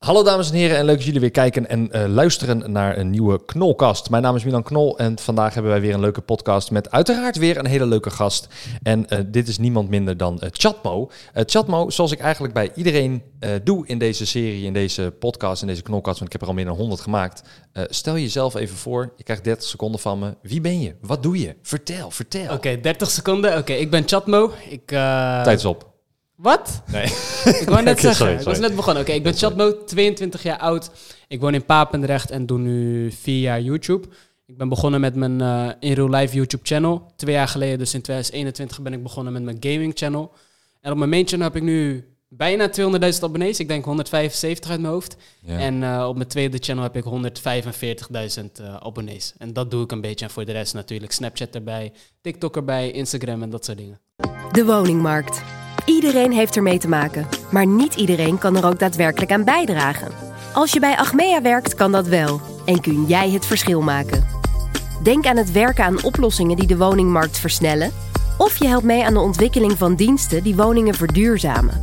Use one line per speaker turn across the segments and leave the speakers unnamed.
Hallo dames en heren en leuk dat jullie weer kijken en eh, luisteren naar een nieuwe Knolkast. Mijn naam is Milan Knol en vandaag hebben wij weer een leuke podcast met uiteraard weer een hele leuke gast. En eh, dit is niemand minder dan eh, Chatmo. Eh, Chatmo, zoals ik eigenlijk bij iedereen eh, doe in deze serie, in deze podcast, in deze Knolkast, want ik heb er al meer dan 100 gemaakt. eh, stel jezelf even voor, je krijgt 30 seconden van me. Wie ben je? Wat doe je? Vertel, vertel.
Oké, 30 seconden. Oké, ik ben Chatmo. Ik, eh,
Tijd is op.
Wat?
Nee.
Ik wou net
Oké,
zeggen.
sorry,
Ik was
sorry.
net begonnen. Oké, ik ben Chatmo, 22 jaar oud. Ik woon in Papendrecht en doe nu 4 jaar YouTube. Ik ben begonnen met mijn eh, In Real Life YouTube channel. Twee jaar geleden, dus in 2021, ben ik begonnen met mijn gaming channel. En op mijn main channel heb ik nu bijna 200.000 abonnees. Ik denk 175 uit mijn hoofd.
Ja.
En eh, op mijn tweede channel heb ik 145.000 eh, abonnees. En dat doe ik een beetje. En voor de rest natuurlijk Snapchat erbij, TikTok erbij, Instagram en dat soort dingen.
De woningmarkt. Iedereen heeft ermee te maken, maar niet iedereen kan er ook daadwerkelijk aan bijdragen. Als je bij Achmea werkt, kan dat wel en kun jij het verschil maken. Denk aan het werken aan oplossingen die de woningmarkt versnellen, of je helpt mee aan de ontwikkeling van diensten die woningen verduurzamen.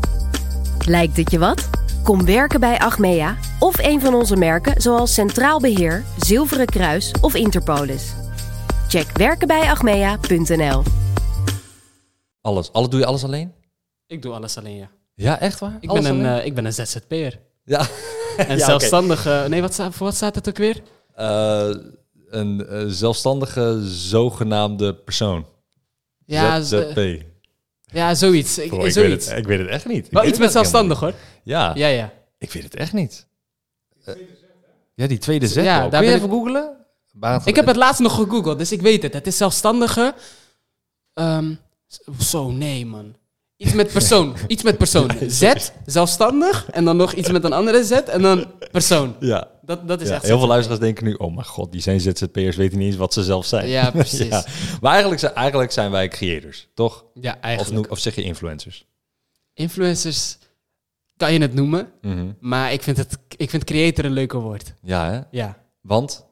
Lijkt het je wat? Kom werken bij Achmea of een van onze merken zoals Centraal Beheer, Zilveren Kruis of Interpolis. Check werkenbijachmea.nl.
Alles. Alle, doe je alles alleen?
Ik doe alles alleen, ja.
Ja, echt waar?
Ik,
Alles
ben een,
alleen?
eh, ik ben een ZZP'er.
Ja.
En
oké.
zelfstandig... eh, nee, wat, sta- voor wat staat het ook weer?
Eh, een eh, zelfstandige zogenaamde persoon.
Ja, z-
ZZP.
eh, ja zoiets. Ik,
Bro, ik, weet
zoiets.
het, e- ik weet het echt niet. Ik
Wel
weet
iets
het
met
echt helemaal
zelfstandig, hoor.
niet. Ja,
Ja, ja.
ik weet het echt niet. Eh, ja, die tweede zet.
Ja,
Ja,
daar
Kun je even
ben
googlen?
Ik heb het laatst nog gegoogeld, dus ik weet het. Het is zelfstandige... ehm, zo, nee, man. Iets met persoon. Iets met persoon. Z, zelfstandig. En dan nog iets met een andere Z. En dan persoon.
Ja.
Dat, dat is
Ja,
Dus echt...
heel veel luisteraars denken nu, oh mijn god, die zijn ZZP'ers, weten niet eens wat ze zelf zijn.
Ja, precies.
Ja. Maar eigenlijk zijn, eigenlijk zijn wij creators, toch?
Ja,
Of,
eigenlijk.
noem- of zeg je influencers?
Influencers kan je het noemen.
Mhm.
Maar ik vind, het, ik vind creator een leuker woord.
Ja, hè?
Ja.
Want?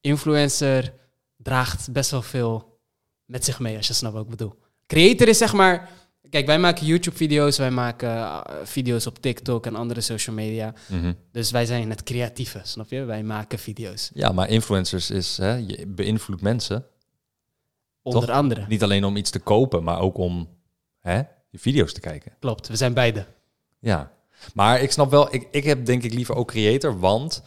Influencer draagt best wel veel met zich mee, als je snapt wat ik bedoel. Creator is zeg maar... Kijk, wij maken YouTube-video's, wij maken eh, video's op TikTok en andere social media.
Mhm.
Dus wij zijn het creatieve, snap je? Wij maken video's.
Ja, maar influencers is, hè, je beïnvloedt mensen.
Onder
Toch?
andere.
Niet alleen om iets te kopen, maar ook om hè, je video's te kijken.
Klopt, we zijn beide.
Ja. Maar ik snap wel, ik, ik heb denk ik liever ook creator, want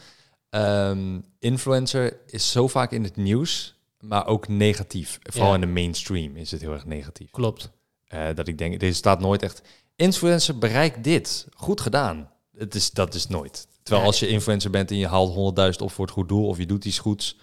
ehm, influencer is zo vaak in het nieuws, maar ook negatief. Vooral
Ja.
in de mainstream is het heel erg negatief.
Klopt.
Eh, dat ik denk, deze staat nooit echt, influencer bereikt dit, goed gedaan. Het is, dat is nooit. Terwijl
Nee.
als je influencer bent en je haalt 100.000 op voor het goed doel of je doet iets goeds,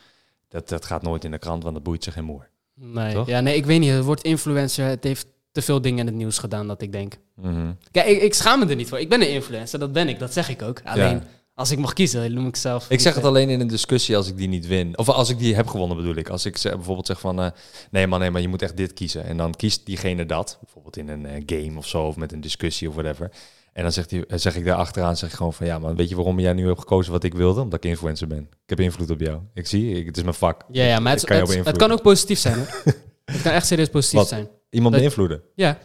dat, dat gaat nooit in de krant, want dat boeit ze geen moer.
Nee.
Toch?
Ja, nee, ik weet niet. Het woord influencer, het heeft te veel dingen in het nieuws gedaan dat ik denk.
Mhm.
Kijk, ik, ik schaam me er niet voor. Ik ben een influencer, dat ben ik, dat zeg ik ook. Alleen, als ik mag kiezen, noem ik zelf...
Ik zeg het alleen in een discussie als ik die niet win. Of als ik die heb gewonnen bedoel ik. Als ik ze- bijvoorbeeld zeg van, eh, nee maar nee maar je moet echt dit kiezen. En dan kiest diegene dat. Bijvoorbeeld in een eh, game of zo of met een discussie of whatever. En dan zegt die, eh, zeg ik daar achteraan zeg ik gewoon van, ja maar weet je waarom jij nu hebt gekozen wat ik wilde? Omdat ik influencer ben. Ik heb invloed op jou. Ik zie, ik, het is mijn vak.
Ja, ja maar
Ik
het,
kan jou
het, het
beïnvloeden.
kan ook positief zijn. Hoor. het kan echt serieus positief
Wat?
zijn.
Iemand
Dat-
beïnvloeden.
Ja.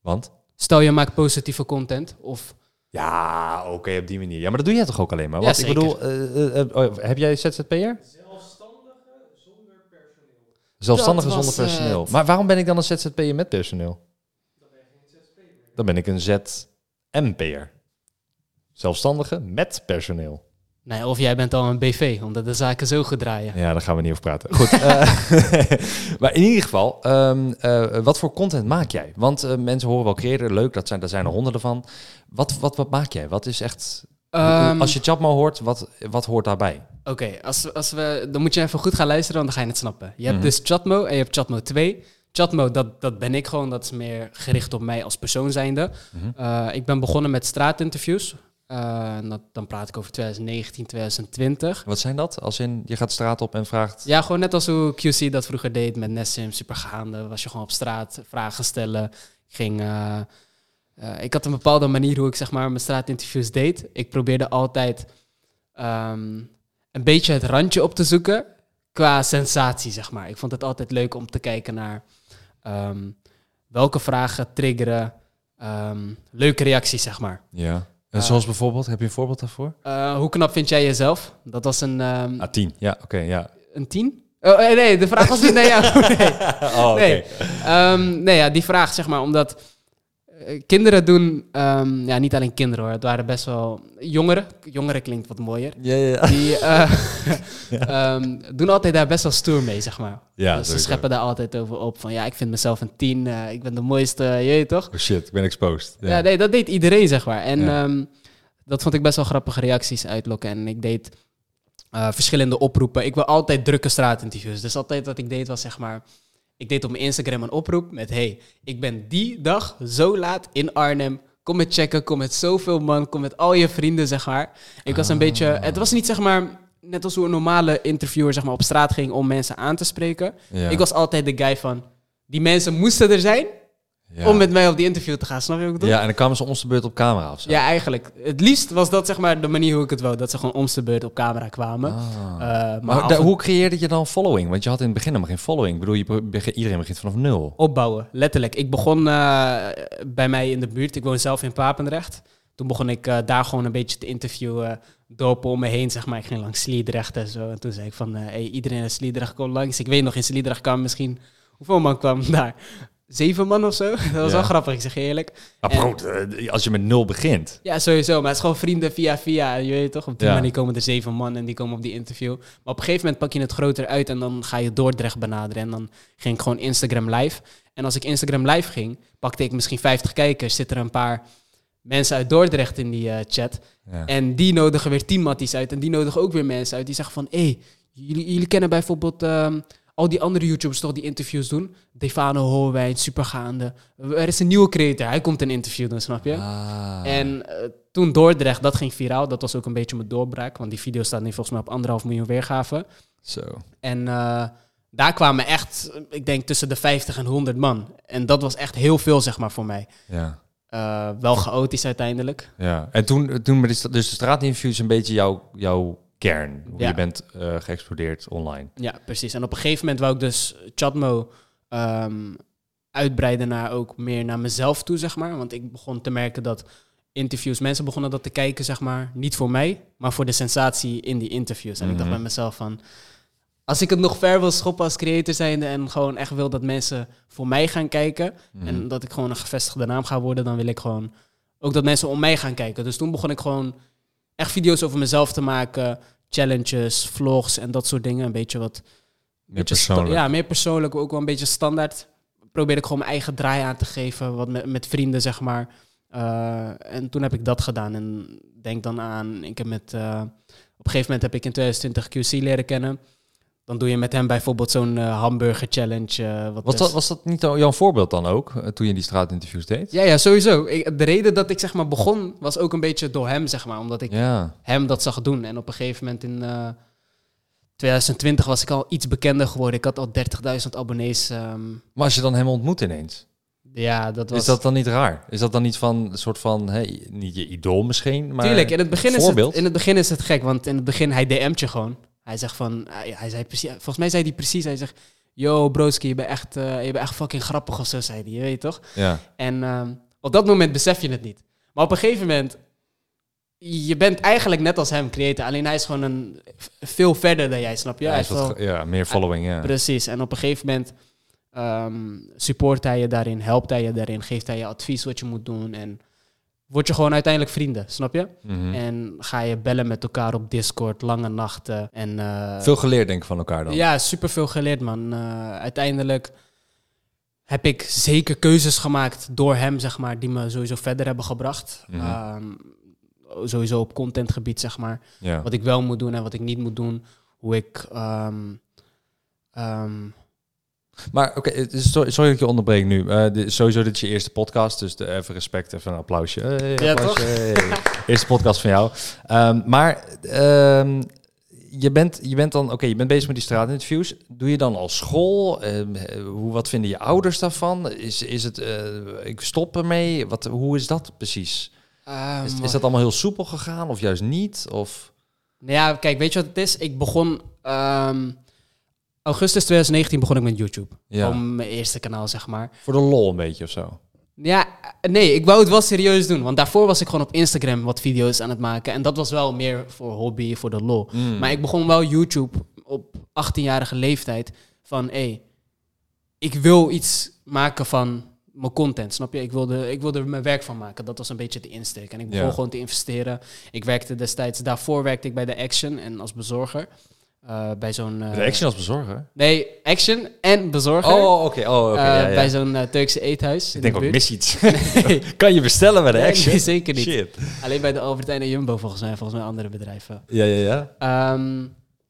Want?
Stel je maakt positieve content. Of
Ja, oké, op die manier. Ja, maar dat doe jij toch ook alleen maar?
Ja,
Want ik
zeker.
bedoel, eh, eh, eh, heb jij ZZP'er? Zelfstandige
Dat
zonder
was
personeel.
het.
Maar waarom ben ik dan een ZZP'er met personeel? Dan ben ik een ZMP'er. Zelfstandige met personeel.
nee, of jij bent al een BV, omdat de zaken zo gedraaien.
Ja, daar gaan we niet over praten. Goed. eh, maar in ieder geval, ehm, eh, wat voor content maak jij? Want eh, mensen horen wel creëren, leuk, dat zijn, daar zijn er honderden van. Wat, wat, wat maak jij? Wat is echt...
Ehm,
als je Chapmo hoort, wat, wat hoort daarbij?
Oké, als, als we, dan moet je even goed gaan luisteren, want dan ga je het snappen. Je
Mhm.
hebt dus Chatmo en je hebt Chatmo 2. Chatmo, dat, dat ben ik gewoon. Dat is meer gericht op mij als persoon zijnde.
Mhm.
Eh, ik ben begonnen met straatinterviews. Eh, en dat, dan praat ik over 2019, 2020.
Wat zijn dat? Als in, je gaat straat op en vraagt...
Ja, gewoon net als hoe QC dat vroeger deed met Nessim, supergaande. Was je gewoon op straat vragen stellen. Ik ging. eh, eh, ik had een bepaalde manier hoe ik zeg maar mijn straatinterviews deed. Ik probeerde altijd ehm, een beetje het randje op te zoeken qua sensatie, zeg maar. Ik vond het altijd leuk om te kijken naar ehm, welke vragen triggeren ehm, leuke reacties, zeg maar.
Ja. En zoals bijvoorbeeld, heb je een voorbeeld daarvoor?
Eh, hoe knap vind jij jezelf? Dat was een, ehm,
Ah, tien. Ja, oké, ja.
een tien? Oh, eh, nee, de vraag was niet naar jou. Nee.
Oh, oké.
Nee. Ehm, nee, ja, die vraag zeg maar, omdat eh, kinderen doen, ehm, ja, niet alleen kinderen hoor, het waren best wel jongeren. Jongeren klinkt wat mooier.
Ja, ja, ja.
Die eh, ehm, doen altijd daar best wel stoer mee, zeg maar.
Ja,
Dus ze
sowieso.
scheppen daar altijd over op van, ja, ik vind mezelf een tien, eh, ik ben de mooiste, je weet toch?
Oh shit, ik ben exposed.
Ja, nee, dat deed iedereen, zeg maar. En
Ja.
ehm, dat vond ik best wel grappige reacties uitlokken. En ik deed eh, verschillende oproepen. Ik wil altijd drukke straatinterviews. Dus altijd wat ik deed was, zeg maar... Ik deed op mijn Instagram een oproep met... Hey, ik ben die dag zo laat in Arnhem. Kom met checken, kom met zoveel man. Kom met al je vrienden, zeg maar. Ik
Ah.
was een beetje... Het was niet, zeg maar... Net als hoe een normale interviewer zeg maar, op straat ging om mensen aan te spreken.
Ja.
Ik was altijd de guy van... Die mensen moesten er zijn
Ja.
om met mij op die interview te gaan. Snap je wat ik bedoel?
Ja, en dan kwamen ze ons de beurt op camera of zo.
Ja, eigenlijk. Het liefst was dat zeg maar de manier hoe ik het wou. Dat ze gewoon om de beurt op camera kwamen.
Ah.
Eh, maar
Maar
af-
da- hoe creëerde je dan following? Want je had in het begin helemaal geen following. Ik bedoel, je be- beg- iedereen begint vanaf
Oh,
nul.
Opbouwen, letterlijk. Ik begon eh, bij mij in de buurt. Ik woon zelf in Papendrecht. Toen begon ik eh, daar gewoon een beetje te interviewen. Dopen om me heen, zeg maar. Ik ging langs Sliedrecht en zo. En toen zei ik van, eh, hey, iedereen in Sliedrecht komt langs. Ik weet nog, in Sliedrecht kwam misschien... Hoeveel man kwam daar? Zeven man of zo? Dat was
Ja.
wel grappig, ik zeg je eerlijk.
Maar
En-
bro, eh, als je met nul begint.
Ja, sowieso. Maar het is gewoon vrienden via via. Je weet toch? Op die
Ja.
manier komen er zeven man en die komen op die interview. Maar op een gegeven moment pak je het groter uit en dan ga je Dordrecht benaderen. En dan ging ik gewoon Instagram live. En als ik Instagram live ging, pakte ik misschien 50 kijkers. Zitten er een paar mensen uit Dordrecht in die eh, chat.
Ja.
En die nodigen weer tien matties uit. En die nodigen ook weer mensen uit. Die zeggen van, hé, hey, jullie, jullie kennen bijvoorbeeld ehm, al die andere YouTubers toch die interviews doen? Defano Holwijn, Supergaande. Er is een nieuwe creator. Hij komt een interview doen, snap je?
Ah.
En eh, toen Dordrecht, dat ging viraal. Dat was ook een beetje mijn doorbraak. Want die video staat nu volgens mij op anderhalf miljoen weergaven.
Zo.
En eh, daar kwamen echt, eh, ik denk tussen de 50 en 100 man. En dat was echt heel veel, zeg maar, voor mij.
Ja.
Eh, wel chaotisch uiteindelijk.
ja. En toen, toen met die sta- dus de straatinterviews een beetje jouw, jouw kern. Hoe
Ja.
je bent eh, geëxplodeerd online.
Ja, precies. En op een gegeven moment wou ik dus Chatmo ehm, uitbreiden naar ook meer naar mezelf toe, zeg maar. Want ik begon te merken dat interviews, mensen begonnen dat te kijken, zeg maar. Niet voor mij, maar voor de sensatie in die interviews. En ik dacht
Mhm.
bij mezelf van, als ik het nog ver wil schoppen als creator zijnde en gewoon echt wil dat mensen voor mij gaan kijken en dat ik gewoon een gevestigde naam ga worden, dan wil ik gewoon ook dat mensen om mij gaan kijken. Dus toen begon ik gewoon echt video's over mezelf te maken, challenges, vlogs en dat soort dingen. Een beetje wat
Meer
beetje sta-
persoonlijk.
Ja, meer persoonlijk, ook wel een beetje standaard. Probeerde ik gewoon mijn eigen draai aan te geven, wat met, met vrienden, zeg maar. Eh, en toen heb ik dat gedaan. En denk dan aan, ik heb met, eh, op een gegeven moment heb ik in 2020 QC leren kennen. Dan doe je met hem bijvoorbeeld zo'n eh, hamburger challenge. eh, wat
Was,
is-
dat, was dat niet al- jouw voorbeeld dan ook, eh, toen je die straatinterviews deed?
Ja, ja, sowieso. Ik- de reden dat ik zeg maar begon, was ook een beetje door hem, zeg maar. Omdat ik
Ja.
hem dat zag doen. En op een gegeven moment in eh, 2020 was ik al iets bekender geworden. Ik had al 30.000 abonnees. ehm,
Maar als je dan hem ontmoet ineens,
ja, dat was...
is dat dan niet raar? Is dat dan niet van een soort van, hey, niet je idool misschien, maar
Tuurlijk, in het, begin is het,
voorbeeld?
in het begin is het gek, want in het begin hij DM't je gewoon. Hij zegt van, hij, hij zei precies, volgens mij zei hij precies, hij zegt, yo broski, je bent echt, eh, je bent echt fucking grappig of zo, zei hij, je weet toch?
ja.
En ehm, op dat moment besef je het niet. Maar op een gegeven moment, je bent eigenlijk net als hem creator, alleen hij is gewoon een, veel verder dan jij, snap je?
Ja,
Hij
is
is
wat
wel-
ge- ja, meer following, ja.
Precies. En op een gegeven moment ehm, support hij je daarin, helpt hij je daarin, geeft hij je advies wat je moet doen. En word je gewoon uiteindelijk vrienden, snap je?
Mhm.
En ga je bellen met elkaar op Discord, lange nachten. En, eh,
Veel geleerd denk ik van elkaar dan.
ja, superveel geleerd, man. Eh, uiteindelijk heb ik zeker keuzes gemaakt door hem, zeg maar, die me sowieso verder hebben gebracht.
Mhm.
Ehm, sowieso op contentgebied, zeg maar
Ja.
wat ik wel moet doen en wat ik niet moet doen. Hoe ik. ehm, ehm,
Maar oké, het is- sorry, sorry dat ik je onderbreek nu. Eh, dit- sowieso dit is je eerste podcast, dus de, even respect, even een applausje. Hey,
Ja,
applausje, hey. Eerste podcast van jou. Ehm, maar ehm, je, bent, je bent dan, oké, je bent bezig met die straatinterviews. Doe je dan al school? Ehm, hoe, wat vinden je ouders daarvan? Is, is het, eh, ik stop ermee? Wat, hoe is dat precies?
ehm,
Is, is dat allemaal heel soepel gegaan of juist niet? Of,
Nou ja, kijk, weet je wat het is? Ik begon. ehm, augustus 2019 begon ik met YouTube.
Ja.
Om mijn eerste kanaal, zeg maar.
voor de lol een beetje of zo?
Ja, eh, nee, ik wou het wel serieus doen. Want daarvoor was ik gewoon op Instagram wat video's aan het maken. En dat was wel meer voor hobby, voor de lol.
Mm.
Maar ik begon wel YouTube op 18-jarige leeftijd. Van, hé, ik wil iets maken van mijn content, snap je? Ik wilde, ik wilde er mijn werk van maken. Dat was een beetje de insteek. En ik begon
Ja.
gewoon te investeren. Ik werkte destijds... Daarvoor werkte ik bij de Action en als bezorger. Eh, bij zo'n... eh,
De Action als bezorger.
Nee, Action en bezorger.
Oh, oké. Oh, oké.
Eh,
ja, ja.
Bij zo'n eh, Turkse eethuis. in
Ik
de
denk ook,
buurt.
mis iets. kan je bestellen bij de
Nee,
Action?
nee, zeker niet.
Shit.
Alleen bij de Albert Heijn en Jumbo volgens mij, volgens mij andere bedrijven.
Ja, ja, ja.
Ehm,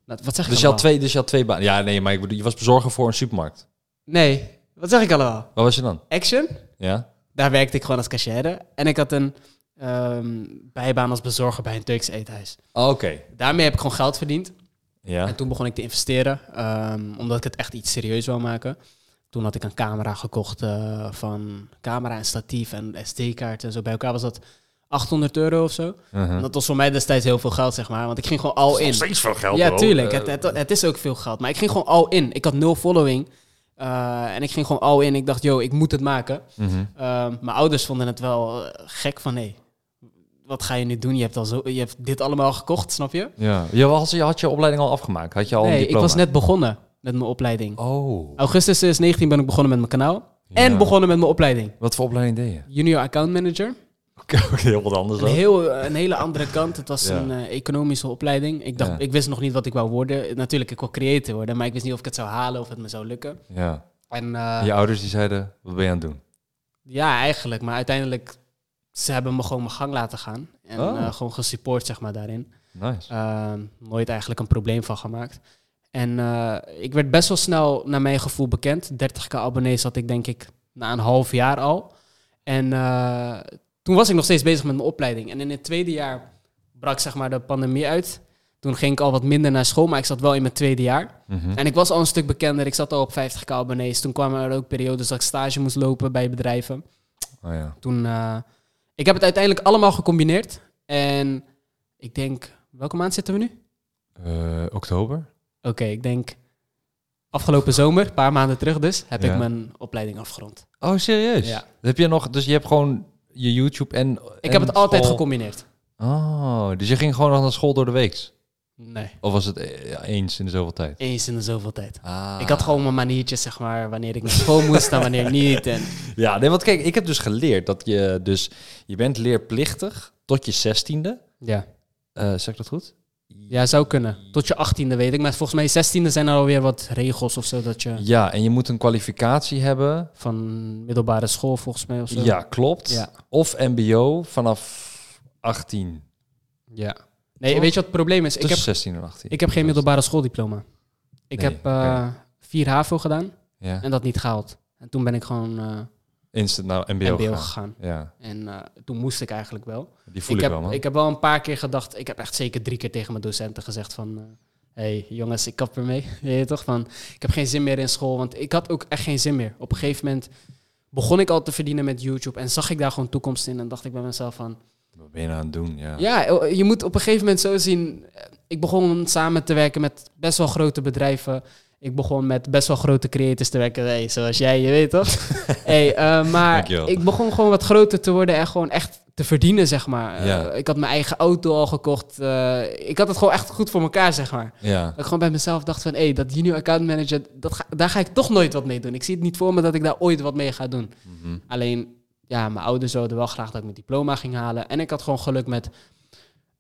nou, wat zeg ik
Dus je,
allemaal?
had twee, dus je had twee banen. Ja, nee, maar ik bedoel, je was bezorger voor een supermarkt.
Nee, wat zeg ik allemaal?
Waar was je dan?
Action,
Ja?
daar werkte ik gewoon als cashier. En ik had een ehm, bijbaan als bezorger bij een Turks eethuis.
Oh, oké.
Daarmee heb ik gewoon geld verdiend.
Ja.
En toen begon ik te investeren, ehm, omdat ik het echt iets serieus wou maken. Toen had ik een camera gekocht eh, van camera en statief en SD-kaart en zo. Bij elkaar was dat 800 euro of zo.
Mhm.
En dat was voor mij destijds heel veel geld, zeg maar. Want ik ging gewoon al in.
steeds veel geld,
Ja, tuurlijk.
eh.
Het, het, het is ook veel geld. Maar ik ging gewoon all in. Ik had nul following. Eh, en ik ging gewoon all in. Ik dacht, yo, ik moet het maken.
Mhm.
Ehm, mijn ouders vonden het wel eh, gek van, hé, wat ga je nu doen? Je hebt, al zo, je hebt dit allemaal gekocht, snap je?
Ja. Je had, je had je opleiding al afgemaakt? Had je al een
nee, ik
diploma?
was net begonnen met mijn opleiding.
Oh.
Augustus 2019 ben ik begonnen met mijn kanaal. En
Ja.
begonnen met mijn opleiding.
Wat voor opleiding deed je?
Junior Account Manager.
Oké, oké, heel wat anders
Een,
dan.
heel, eh, een hele andere kant. Het was
Ja.
een eh, economische opleiding. Ik, dacht,
Ja.
ik wist nog niet wat ik wou worden. Natuurlijk, ik wil creator worden, maar ik wist niet of ik het zou halen of het me zou lukken.
Ja.
En eh,
En Je ouders die zeiden, wat ben je aan het doen?
ja, eigenlijk. Maar uiteindelijk, ze hebben me gewoon mijn gang laten gaan. En
Oh.
eh, gewoon gesupport, zeg maar, daarin.
Nice.
Ehm, nooit eigenlijk een probleem van gemaakt. En eh, ik werd best wel snel, naar mijn gevoel, bekend. 30k abonnees had ik denk ik na een half jaar al. En eh, toen was ik nog steeds bezig met mijn opleiding. En in het tweede jaar brak zeg maar de pandemie uit. Toen ging ik al wat minder naar school, maar ik zat wel in mijn tweede jaar.
Mhm.
En ik was al een stuk bekender. Ik zat al op 50k abonnees. Toen kwamen er ook periodes dat ik stage moest lopen bij bedrijven.
Oh ja.
Toen, eh, ik heb het uiteindelijk allemaal gecombineerd. En ik denk, welke maand zitten we nu?
Eh, oktober?
Oké, ik denk afgelopen zomer, een paar maanden terug dus, heb
Ja.
ik mijn opleiding afgerond.
Oh, serieus?
Ja.
Heb je nog, dus je hebt gewoon je YouTube en...
Ik heb het
gekomen.
altijd gecombineerd.
Oh, dus je ging gewoon nog naar school door de week?
Nee,
Of was het eh, ja, eens in de zoveel tijd?
eens in de zoveel tijd.
Ah.
Ik had gewoon mijn maniertjes, zeg maar, wanneer ik naar school moest en wanneer niet. En,
Ja, nee, want kijk, ik heb dus geleerd dat je dus... Je bent leerplichtig tot je zestiende.
ja.
Eh zeg ik dat goed?
ja, zou kunnen. Tot je achttiende weet ik, maar volgens mij zestiende zijn er alweer wat regels of zo, dat je
Ja, en je moet een kwalificatie hebben.
van middelbare school volgens mij of zo.
Ja, klopt.
Ja.
Of mbo vanaf 18.
ja. Nee, weet je wat het probleem is? Ik
Tussen
heb,
16 en 18.
ik heb geen middelbare schooldiploma. Ik
Dus- Nee,
heb eh, vier HAVO gedaan
Ja.
en dat niet gehaald. En toen ben ik gewoon eh
Instant naar mbo,
MBO
gegaan.
gegaan.
Ja,
En eh, toen moest ik eigenlijk wel.
die voel
Ik
ik,
heb,
wel, man.
ik heb wel een paar keer gedacht, ik heb echt zeker drie keer tegen mijn docenten gezegd van... Hé hey, jongens, ik kap ermee. Je weet toch? Van, ik heb geen zin meer in school, want ik had ook echt geen zin meer. Op een gegeven moment begon ik al te verdienen met YouTube en zag ik daar gewoon toekomst in. En dacht ik bij mezelf van...
Wat ben je nou aan het doen? Ja.
Ja, eh, je moet op een gegeven moment zo zien... eh, Ik begon samen te werken met best wel grote bedrijven. Ik begon met best wel grote creators te werken. Hey, zoals jij, je weet toch? hey, eh, maar
Dankjewel.
ik begon gewoon wat groter te worden en gewoon echt te verdienen, zeg maar. Eh,
Ja.
ik had mijn eigen auto al gekocht. Eh, ik had het gewoon echt goed voor elkaar, zeg maar.
Ja.
Dat ik gewoon bij mezelf dacht van... hé, hey, dat junior account manager, dat ga- daar ga ik toch nooit wat mee doen. Ik zie het niet voor me dat ik daar ooit wat mee ga doen.
Mhm.
Alleen, ja, mijn ouders wilden wel graag dat ik mijn diploma ging halen. En ik had gewoon geluk met een,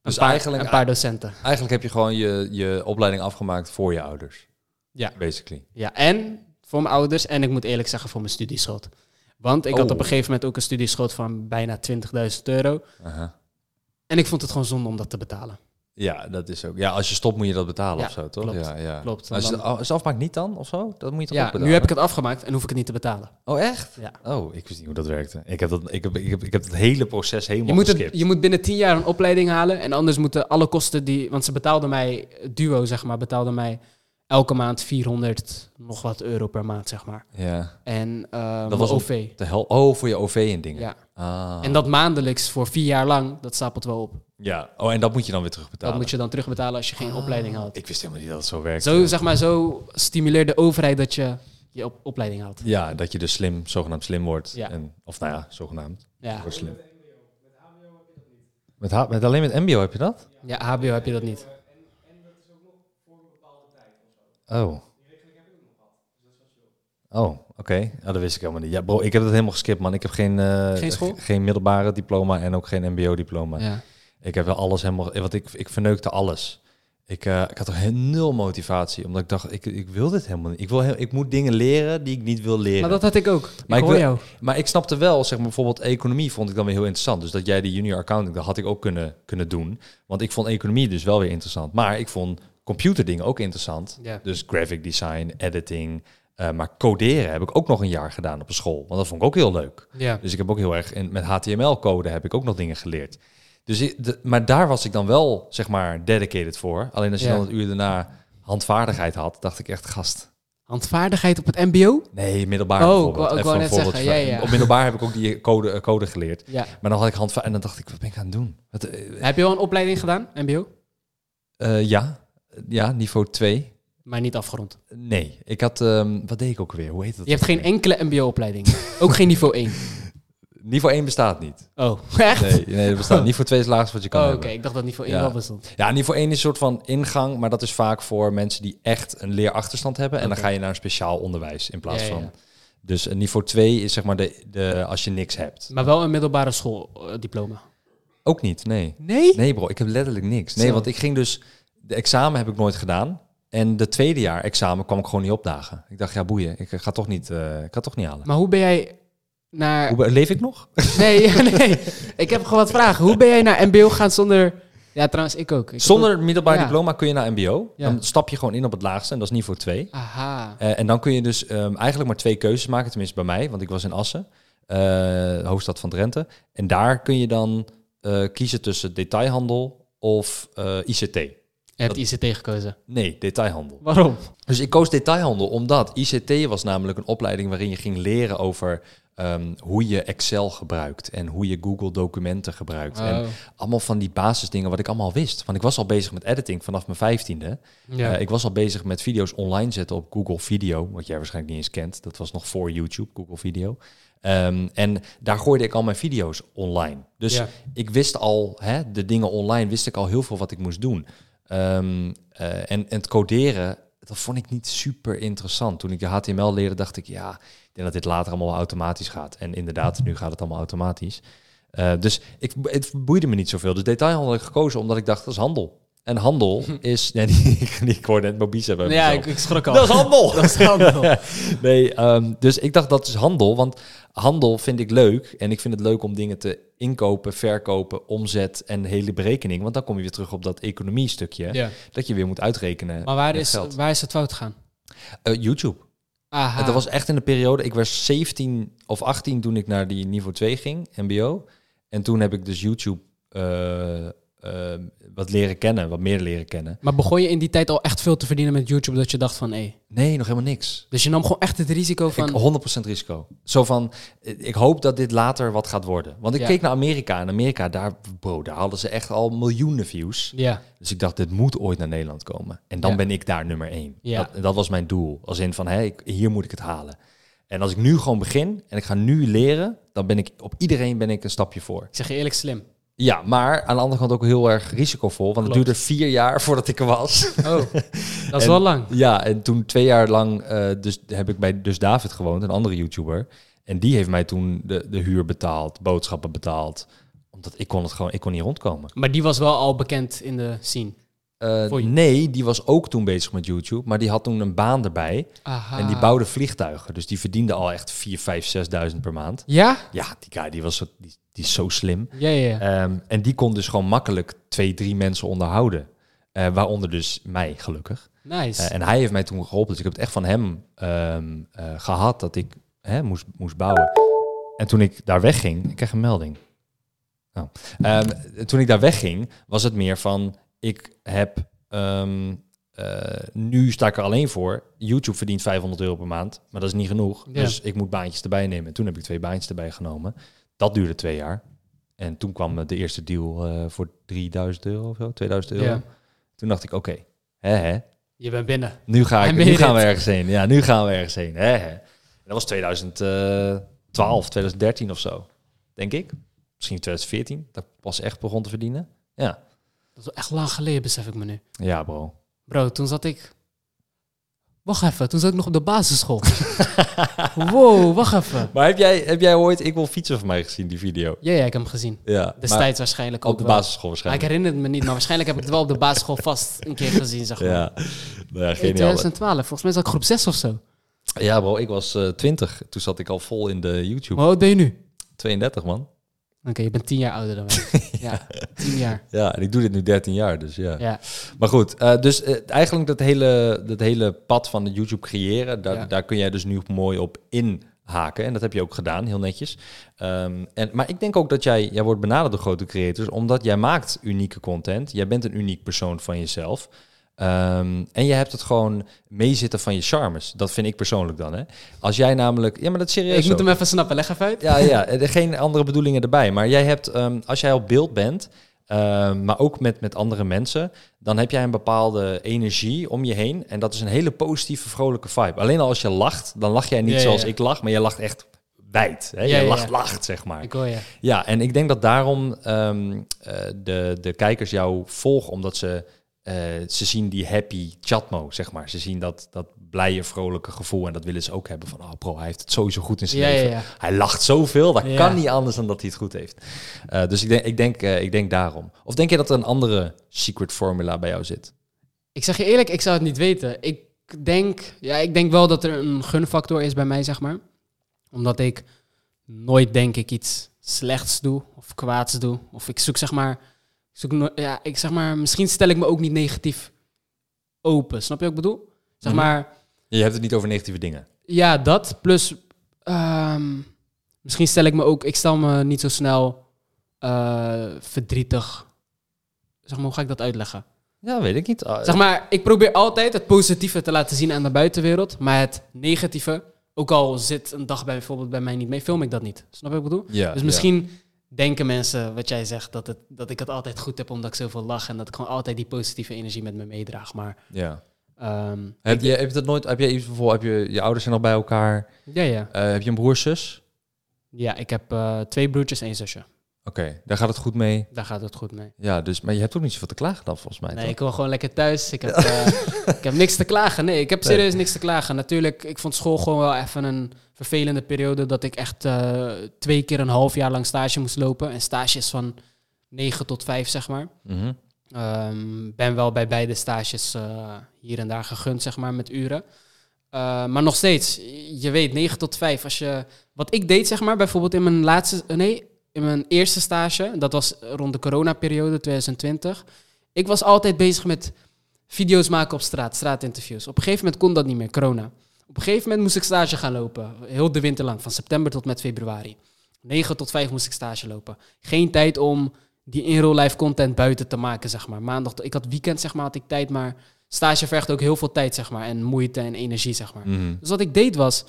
Dus
paar,
eigenlijk-
een paar docenten.
Eigenlijk heb je gewoon je, je opleiding afgemaakt voor je ouders.
Ja.
Basically.
Ja, en voor mijn ouders en ik moet eerlijk zeggen voor mijn studieschuld. Want ik had
Oh.
op een gegeven moment ook een studieschuld van bijna 20.000 euro.
Aha.
En ik vond het gewoon zonde om dat te betalen.
Ja, dat is ook. Ja, als je stopt moet je dat betalen
Ja,
of zo, toch?
klopt.
ja, ja.
Klopt.
Als je
Dan-
het af- als je het afmaakt niet dan of zo, dat moet je toch ook
Ja,
betalen?
nu heb ik het afgemaakt en hoef ik het niet te betalen.
Oh, echt?
Ja.
Oh, ik wist niet hoe dat werkte. Ik heb dat, ik heb, ik heb, ik heb het hele proces helemaal
Je moet, het,
geskipt.
je moet binnen 10 jaar een opleiding halen. En anders moeten alle kosten die. Want ze betaalden mij, het duo zeg maar, betaalde mij elke maand 400 nog wat euro per maand, zeg maar.
Ja.
En eh mijn
was op-
OV.
De hel oh, voor je OV en dingen.
Ja.
Ah.
En dat maandelijks voor vier jaar lang, dat stapelt wel op.
ja. Oh, en dat moet je dan weer terugbetalen.
Dat moet je dan
Ah,
terugbetalen als je geen opleiding had.
Ik wist helemaal niet dat het zo werkt.
Zo, zeg maar, zo stimuleert de overheid dat je je op, opleiding houdt.
Ja, dat je dus slim, zogenaamd slim wordt.
Ja.
En, of nou ja, zogenaamd.
Ja.
Wordt slim. Met, H- met alleen met MBO heb je dat?
ja, HBO heb je dat niet.
Oh. Oh, oké. Ja, dat wist ik helemaal niet. Ja, bro, ik heb dat helemaal geskipt, man. Ik heb geen, eh,
Geen school?
ge- geen middelbare diploma en ook geen MBO-diploma.
Ja.
Ik heb wel alles helemaal... eh, Want ik, ik verneukte alles. Ik, eh, ik had er heel nul motivatie, omdat ik dacht, ik, ik wil dit helemaal niet. Ik, wil heel, ik moet dingen leren die ik niet wil leren.
Maar dat had ik ook.
Maar
ik
ik
hoor
wil-
jou.
Maar ik snapte wel, zeg maar, bijvoorbeeld economie vond ik dan weer heel interessant. Dus dat jij de junior accounting, dat had ik ook kunnen, kunnen doen. Want ik vond economie dus wel weer interessant. Maar ik vond computerdingen ook interessant.
Ja.
Dus graphic design, editing. eh, maar coderen heb ik ook nog een jaar gedaan op een school. Want dat vond ik ook heel leuk.
Ja.
Dus ik heb ook heel erg, in, met HTML-code heb ik ook nog dingen geleerd. Dus ik- de- maar daar was ik dan wel, zeg maar, dedicated voor. Alleen als je
Ja.
dan het uur daarna handvaardigheid had, dacht ik echt, gast,
Handvaardigheid op het mbo?
Nee, middelbaar
Oh,
bijvoorbeeld.
ik wou- ik
Even
wou
een
net
voorbeeld
zeggen,
van-
ja, ja.
Op middelbaar heb ik ook die code, eh, code geleerd.
Ja.
Maar dan had ik handva en dan dacht ik, wat ben ik aan het doen? Wat, eh,
Heb je al een opleiding gedaan, mbo?
eh, ja. ja, niveau 2.
Maar niet afgerond.
Nee, ik had, ehm, wat deed ik ook weer? Hoe heet dat?
Je hebt
ook
geen
weer?
enkele mbo-opleiding. ook geen niveau 1.
Niveau 1 bestaat niet.
Oh, echt?
Nee, nee dat bestaat. Niveau 2 is het laagste wat je kan
Oh, oké.
hebben.
Ik dacht dat niveau 1
Ja.
wel bestond.
Ja, niveau 1 is een soort van ingang, maar dat is vaak voor mensen die echt een leerachterstand hebben. En dan
Oké.
ga je naar een speciaal onderwijs in plaats
Ja, ja,
van...
ja.
Dus eh, niveau 2 is zeg maar de, de, als je niks hebt.
Maar wel een middelbare schooldiploma.
Ook niet, nee.
Nee?
Nee, bro, ik heb letterlijk niks. Nee,
Zo.
want ik ging dus. De examen heb ik nooit gedaan. En de tweede jaar examen kwam ik gewoon niet opdagen. Ik dacht, ja, boeien. Ik eh, ga toch niet, eh, ik ga toch niet halen.
Maar hoe ben jij naar...
Hoe, be- leef ik nog?
Nee, nee. Ik heb gewoon wat vragen. Hoe ben jij naar mbo gaan zonder... Ja, trouwens, ik ook. Ik heb
Zonder
ook-
het middelbaar
Ja.
diploma kun je naar MBO.
Ja.
Dan stap je gewoon in op het laagste. En dat is niveau 2.
Aha.
Eh, en dan kun je dus ehm, eigenlijk maar twee keuzes maken. Tenminste bij mij, want ik was in Assen, eh, hoofdstad van Drenthe. En daar kun je dan eh, kiezen tussen detailhandel of eh, ICT.
Je hebt ICT gekozen.
Nee, detailhandel.
Waarom?
Dus ik koos detailhandel omdat ICT was namelijk een opleiding waarin je ging leren over ehm, hoe je Excel gebruikt en hoe je Google documenten gebruikt. En
Oh.
allemaal van die basisdingen wat ik allemaal wist. Want ik was al bezig met editing vanaf mijn vijftiende.
Ja.
Eh, ik was al bezig met video's online zetten op Google Video, wat jij waarschijnlijk niet eens kent. Dat was nog voor YouTube, Google Video. Ehm, en daar gooide ik al mijn video's online. Dus
Ja.
ik wist al, hè, de dingen online, wist ik al heel veel wat ik moest doen. Ehm, eh, en, en het coderen, dat vond ik niet super interessant. Toen ik de HTML leerde, dacht ik, ja, ik denk dat dit later allemaal wel automatisch gaat. En inderdaad, nu gaat het allemaal automatisch. Eh, dus ik, het boeide me niet zoveel. Dus detailhandel heb ik gekozen, omdat ik dacht, dat is handel. En handel is... Nee, ik, ik hoorde net Mobies hebben.
ja, ik, ik schrok al.
Dat is handel!
Dat is handel.
Nee, ehm, dus ik dacht dat is handel, want handel vind ik leuk. En ik vind het leuk om dingen te inkopen, verkopen, omzet en de hele berekening. Want dan kom je weer terug op dat economie stukje,
Ja.
dat je weer moet uitrekenen.
Maar waar
met
is,
geld.
waar is het fout gegaan?
Eh, YouTube.
Aha.
Dat was echt in de periode, ik was 17 of 18 toen ik naar die niveau 2 ging, mbo. En toen heb ik dus YouTube eh, eh, wat leren kennen, wat meer leren kennen.
Maar begon je in die tijd al echt veel te verdienen met YouTube dat je dacht van hé.
Nee, nog helemaal niks.
Dus je nam gewoon echt het risico van.
Ik 100% risico. Zo van, eh, ik hoop dat dit later wat gaat worden. Want ik
Ja.
keek naar Amerika. En Amerika, daar, bro, daar hadden ze echt al miljoenen views.
ja,
Dus ik dacht, dit moet ooit naar Nederland komen. En dan
Ja.
ben ik daar nummer één.
Ja.
Dat, dat was mijn doel. Als in van, hé, ik- hier moet ik het halen. En als ik nu gewoon begin en ik ga nu leren, dan ben ik op iedereen ben ik een stapje voor.
ik zeg je eerlijk slim.
Ja, maar aan de andere kant ook heel erg risicovol, want het
Klopt.
duurde vier jaar voordat ik er was.
Oh, dat is
En-
wel lang.
Ja, en toen twee jaar lang eh, dus, heb ik bij Dus David gewoond, een andere YouTuber. En die heeft mij toen de, de huur betaald, boodschappen betaald. Omdat ik kon het gewoon, ik kon niet rondkomen.
Maar die was wel al bekend in de scene.
Eh,
Voor je-
nee, die was ook toen bezig met YouTube, maar die had toen een baan erbij.
Aha.
En die bouwde vliegtuigen, dus die verdiende al echt 4, 5, 6.000 per maand.
Ja?
Ja, die guy, die, was zo, die, die is zo slim.
Ja, ja, ja.
Ehm, en die kon dus gewoon makkelijk twee, drie mensen onderhouden. Eh, waaronder dus mij, gelukkig.
Nice.
Eh, en hij heeft mij toen geholpen. Dus ik heb het echt van hem ehm, eh, gehad dat ik hè, moest, moest bouwen. En toen ik daar wegging, ik kreeg een melding. Oh. Ehm, toen ik daar wegging, was het meer van ik heb. ehm, eh, nu sta ik er alleen voor. YouTube verdient 500 euro per maand, maar dat is niet genoeg.
Ja.
Dus ik moet baantjes erbij nemen. En toen heb ik twee baantjes erbij genomen. Dat duurde twee jaar. En toen kwam eh, de eerste deal eh, voor 3000 euro of zo, 2000 euro.
Ja.
Toen dacht ik, oké, hè, hè,
Je bent binnen.
Nu, ga
I
ik,
made
nu gaan
it.
we ergens heen. Ja, nu gaan we ergens heen. Hè, hè. En Dat was 2012, 2013 of zo. Denk ik. Misschien 2014. Dat ik pas echt begon te verdienen. Ja.
Dat is wel echt lang geleden, besef ik me nu.
Ja, bro.
Bro, toen zat ik... Wacht even, toen zat ik nog op de basisschool. wow, wacht even.
Maar heb jij, heb jij ooit Ik wil fietsen van mij gezien, die video?
Ja, ja, ik heb hem gezien.
Ja. maar
Destijds waarschijnlijk ook
Op de
wel.
basisschool
Maar ik
waarschijnlijk.
herinner het me niet, maar waarschijnlijk heb ik het wel op de basisschool vast een keer gezien, zeg maar.
Ja. Nou ja, geniaal.
In 2012, volgens mij zat ik groep 6 of zo.
Ja, bro. Ik was eh 20. Toen zat ik al vol in de YouTube.
Maar hoe oud ben je nu?
32, man.
Oké, je bent 10 jaar ouder dan mij. ja, 10 jaar.
Ja, en ik doe dit nu 13 jaar, dus ja.
Ja.
Maar goed, eh, dus eh, eigenlijk dat hele, dat hele pad van het YouTube creëren, daar,
Ja.
daar kun jij dus nu mooi op inhaken. En dat heb je ook gedaan, heel netjes. Ehm, en, maar ik denk ook dat jij, jij wordt benaderd door grote creators, omdat jij maakt unieke content. Jij bent een uniek persoon van jezelf. Ehm, en je hebt het gewoon meezitten van je charmes. Dat vind ik persoonlijk dan. Hè? Als jij namelijk. Ja, maar dat is serieus.
Ik
zo.
moet hem even snappen, leg even uit.
Ja, ja, er geen andere bedoelingen erbij. Maar jij hebt, ehm, als jij op beeld bent, ehm, maar ook met, met andere mensen, dan heb jij een bepaalde energie om je heen. En dat is een hele positieve, vrolijke vibe. Alleen al als je lacht, dan lach jij niet
Ja, ja,
zoals
ja.
ik lach, maar je lacht echt wijd. Hè?
Ja,
je
ja,
lacht,
ja.
lacht, zeg maar.
Ik hoor je.
Ja, en ik denk dat daarom ehm, eh, de, de kijkers jou volgen, omdat ze, eh, ze zien die happy chatmo, zeg maar. Ze zien dat, dat blije, vrolijke gevoel en dat willen ze ook hebben van, oh bro, hij heeft het sowieso goed in zijn
Ja, ja,
leven.
ja.
Hij lacht zoveel, dat
Ja.
kan niet anders dan dat hij het goed heeft. Eh, dus ik denk, ik, denk, eh, ik denk daarom. Of denk je dat er een andere secret formula bij jou zit?
Ik zeg je eerlijk, ik zou het niet weten. Ik denk, ja, ik denk wel dat er een gunfactor is bij mij, zeg maar. Omdat ik nooit, denk ik, iets slechts doe of kwaads doe. Of ik zoek, zeg maar, ik zoek no- ja, ik zeg maar, misschien stel ik me ook niet negatief open. Snap je wat ik bedoel? Zeg
Mhm.
maar,
Je hebt het niet over negatieve dingen.
ja, dat. Plus, ehm, misschien stel ik me ook, ik stel me niet zo snel eh, verdrietig. Zeg maar, hoe ga ik dat uitleggen?
Ja, weet ik niet. Ah,
Zeg maar, ik probeer altijd het positieve te laten zien aan de buitenwereld. Maar het negatieve, ook al zit een dag bij, bijvoorbeeld bij mij niet mee, film ik dat niet. Snap je wat ik bedoel?
ja,
dus
ja.
misschien denken mensen, wat jij zegt, dat, het, dat ik het altijd goed heb omdat ik zoveel lach. En dat ik gewoon altijd die positieve energie met me meedraag. Maar
Ja.
ehm,
Heb je, heb je dat nooit, heb je iets bijvoorbeeld, heb je, je ouders zijn nog bij elkaar?
ja, ja.
Eh, heb je een broer, zus?
ja, ik heb eh, twee broertjes en één zusje.
Oké, daar gaat het goed mee.
Daar gaat het goed mee.
Ja, dus, maar je hebt ook niet zoveel te klagen dan, volgens mij.
Nee,
toch?
ik wil gewoon lekker thuis. Ik heb, eh, ik heb niks te klagen. Nee, ik heb
Nee.
serieus niks te klagen. Natuurlijk, ik vond school gewoon wel even een vervelende periode. Dat ik echt eh, twee keer een half jaar lang stage moest lopen. En stages van negen tot vijf, zeg maar.
Mhm.
Ehm, ben wel bij beide stages eh, hier en daar gegund, zeg maar, met uren. Eh, maar nog steeds, je weet, 9 tot 5. Als je, wat ik deed, zeg maar, bijvoorbeeld in mijn laatste, eh, nee, in mijn eerste stage, dat was rond de coronaperiode 2020. Ik was altijd bezig met video's maken op straat, straatinterviews. Op een gegeven moment kon dat niet meer, corona. Op een gegeven moment moest ik stage gaan lopen, heel de winter lang, van september tot met februari. 9 tot 5 moest ik stage lopen. Geen tijd om die in real life content buiten te maken, zeg maar. Maandag, ik had weekend, zeg maar, had ik tijd, maar stage vergt ook heel veel tijd, zeg maar, en moeite en energie, zeg maar.
Mhm.
Dus wat ik deed was,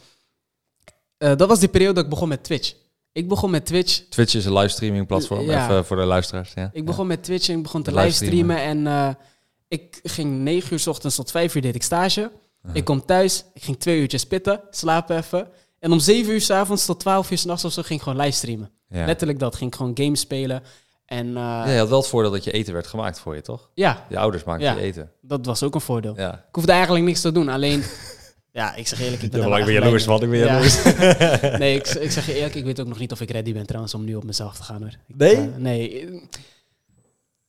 eh, dat was die periode dat ik begon met Twitch. Ik begon met Twitch,
Twitch is een livestreaming platform,
Ja.
even voor de luisteraars. Ja.
ik begon met Twitch en ik begon te
Met livestreamen.
livestreamen en eh, ik ging 9 uur 's ochtends tot 5 uur deed ik stage.
Ja.
Ik kom thuis, ik ging twee uurtjes pitten, slapen even. En om 7 uur 's avonds tot 12 uur 's nachts of zo ging ik gewoon livestreamen.
Ja.
Letterlijk dat, ging ik gewoon games spelen. En eh,
Ja, je had wel het voordeel dat je eten werd gemaakt voor je, toch?
ja,
Je ouders maakten
Ja.
je eten.
dat was ook een voordeel.
Ja.
Ik hoefde eigenlijk niks te doen. Alleen, ja, ik zeg eerlijk, ik ben, er wel echt blij
ik
mee. Ja. Nee, ik, z- ik zeg je eerlijk, ik weet ook nog niet of ik ready ben trouwens om nu op mezelf te gaan hoor. Ik,
Nee?
eh, nee. eh,
Je-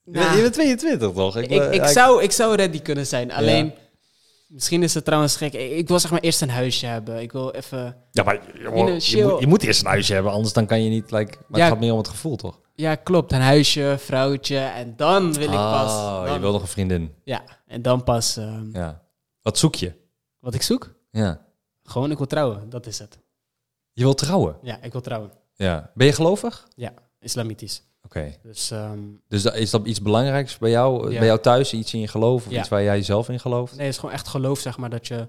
nou,
Je bent 22, toch?
ik,
eh,
ik, zou, ik zou ready kunnen zijn. Alleen,
Ja.
misschien is het trouwens gek. Ik, ik wil zeg maar eerst een huisje hebben. Ik wil even...
Ja, maar je,
In een chill-
moet eerst een huisje hebben, anders dan kan je niet... Like, maar
Ja.
het gaat meer om het gevoel, toch?
Ja, klopt. Een huisje, vrouwtje. En dan wil ik pas...
Oh, je
dan-
wil nog een vriendin.
Ja, en dan pas ehm,
Ja. Wat zoek je?
wat ik zoek.
Ja.
Gewoon, ik wil trouwen. Dat is het.
Je wil trouwen?
Ja, ik wil trouwen.
Ja. Ben je gelovig?
Ja, islamitisch.
Oké.
Dus ehm,
Dus da- is dat iets belangrijks bij jou? eh,
Ja.
Bij jou thuis? Iets in je geloof? Of
Ja.
iets waar jij zelf in gelooft?
Nee, het is gewoon echt geloof, zeg maar, dat je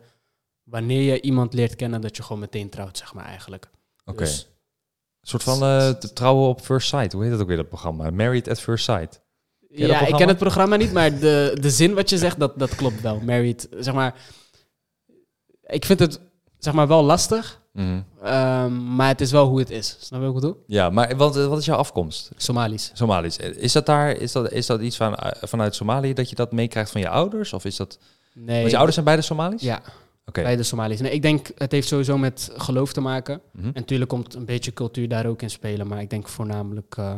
wanneer je iemand leert kennen, dat je gewoon meteen trouwt, zeg maar, eigenlijk.
Oké.
Dus,
Een soort van eh, te trouwen op first sight. Hoe heet dat ook weer, dat programma? Married at first sight. je dat
ja, ik
programma?
ken het programma niet, maar de, de zin wat je zegt, dat, dat klopt wel. Married, zeg maar. Ik vind het zeg maar wel lastig,
Mhm.
ehm, maar het is wel hoe het is. Snap je wat ik bedoel?
Ja, maar wat, eh, wat is jouw afkomst?
Somalisch.
Somalisch. Eh, Is dat, daar, is dat, is dat iets van, eh, vanuit Somalië dat je dat meekrijgt van je ouders? Of is dat...
Nee.
Want je ouders zijn beide Somalisch?
Ja,
Oké.
bij de Somaliërs. Nee, ik denk het heeft sowieso met geloof te maken.
Mhm.
En natuurlijk komt een beetje cultuur daar ook in spelen, maar ik denk voornamelijk. eh,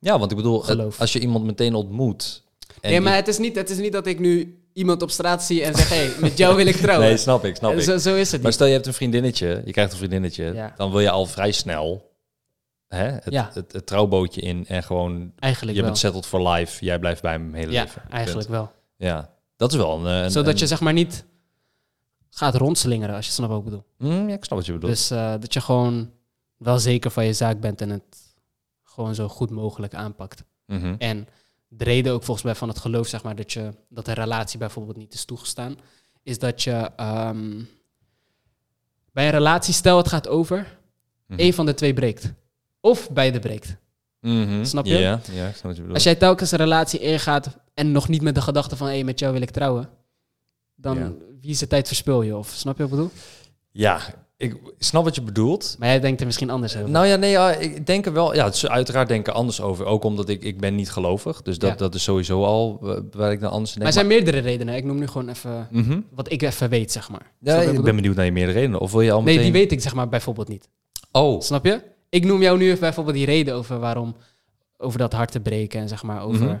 Ja, want ik bedoel, het-
Geloof.
als je iemand meteen ontmoet... en
Nee,
je-
maar het is, niet, het is niet dat ik nu iemand op straat zie en zeg: hé, hey, met jou wil ik trouwen.
Nee, snap ik, snap ik.
zo, zo is het.
Maar
Niet.
stel je hebt een vriendinnetje, je krijgt een vriendinnetje,
Ja.
dan wil je al vrij snel hè, het,
Ja.
het, het trouwbootje in en gewoon, je
Eigenlijk wel.
bent settled for life, jij blijft bij hem hele
ja,
leven. Punt.
eigenlijk wel.
Ja, dat is wel een... eh, een-
Zodat je
een-
zeg maar niet gaat rondslingeren, als je snapt wat ik bedoel.
Mm, ja, ik snap wat je bedoelt.
Dus eh, dat je gewoon wel zeker van je zaak bent en het gewoon zo goed mogelijk aanpakt.
Mhm.
En de reden ook volgens mij van het geloof, zeg maar, dat, je, dat een relatie bijvoorbeeld niet is toegestaan, is dat je ehm, bij een relatie, stel het gaat over,
Mhm.
één van de twee breekt. Of beide breekt.
Mhm.
Snap je?
Ja, ja, ik snap wat je bedoelt.
Als jij telkens een relatie ingaat en nog niet met de gedachte van, hé, met jou wil ik trouwen, dan
Ja.
wie zijn tijd verspil je? Of snap je wat ik bedoel?
Ja, ik snap wat je bedoelt.
Maar jij denkt er misschien anders over.
Nou ja, nee, ja, ik denk er wel. Ja, ze uiteraard denken anders over. Ook omdat ik, ik ben niet gelovig. Dus dat,
Ja.
dat is sowieso al eh, waar ik dan anders in
maar er
denk.
zijn meerdere redenen. Ik noem nu gewoon even
Maar- Mhm.
wat ik even weet, zeg maar.
ja,
Snap je wat
ik
bedoel?
ben benieuwd naar je meerdere redenen. Of wil je al
Nee,
meteen...
die weet ik zeg maar bijvoorbeeld niet.
Oh,
Snap je? Ik noem jou nu even bijvoorbeeld die reden over waarom... Over dat hart te breken en zeg maar over...
Mhm.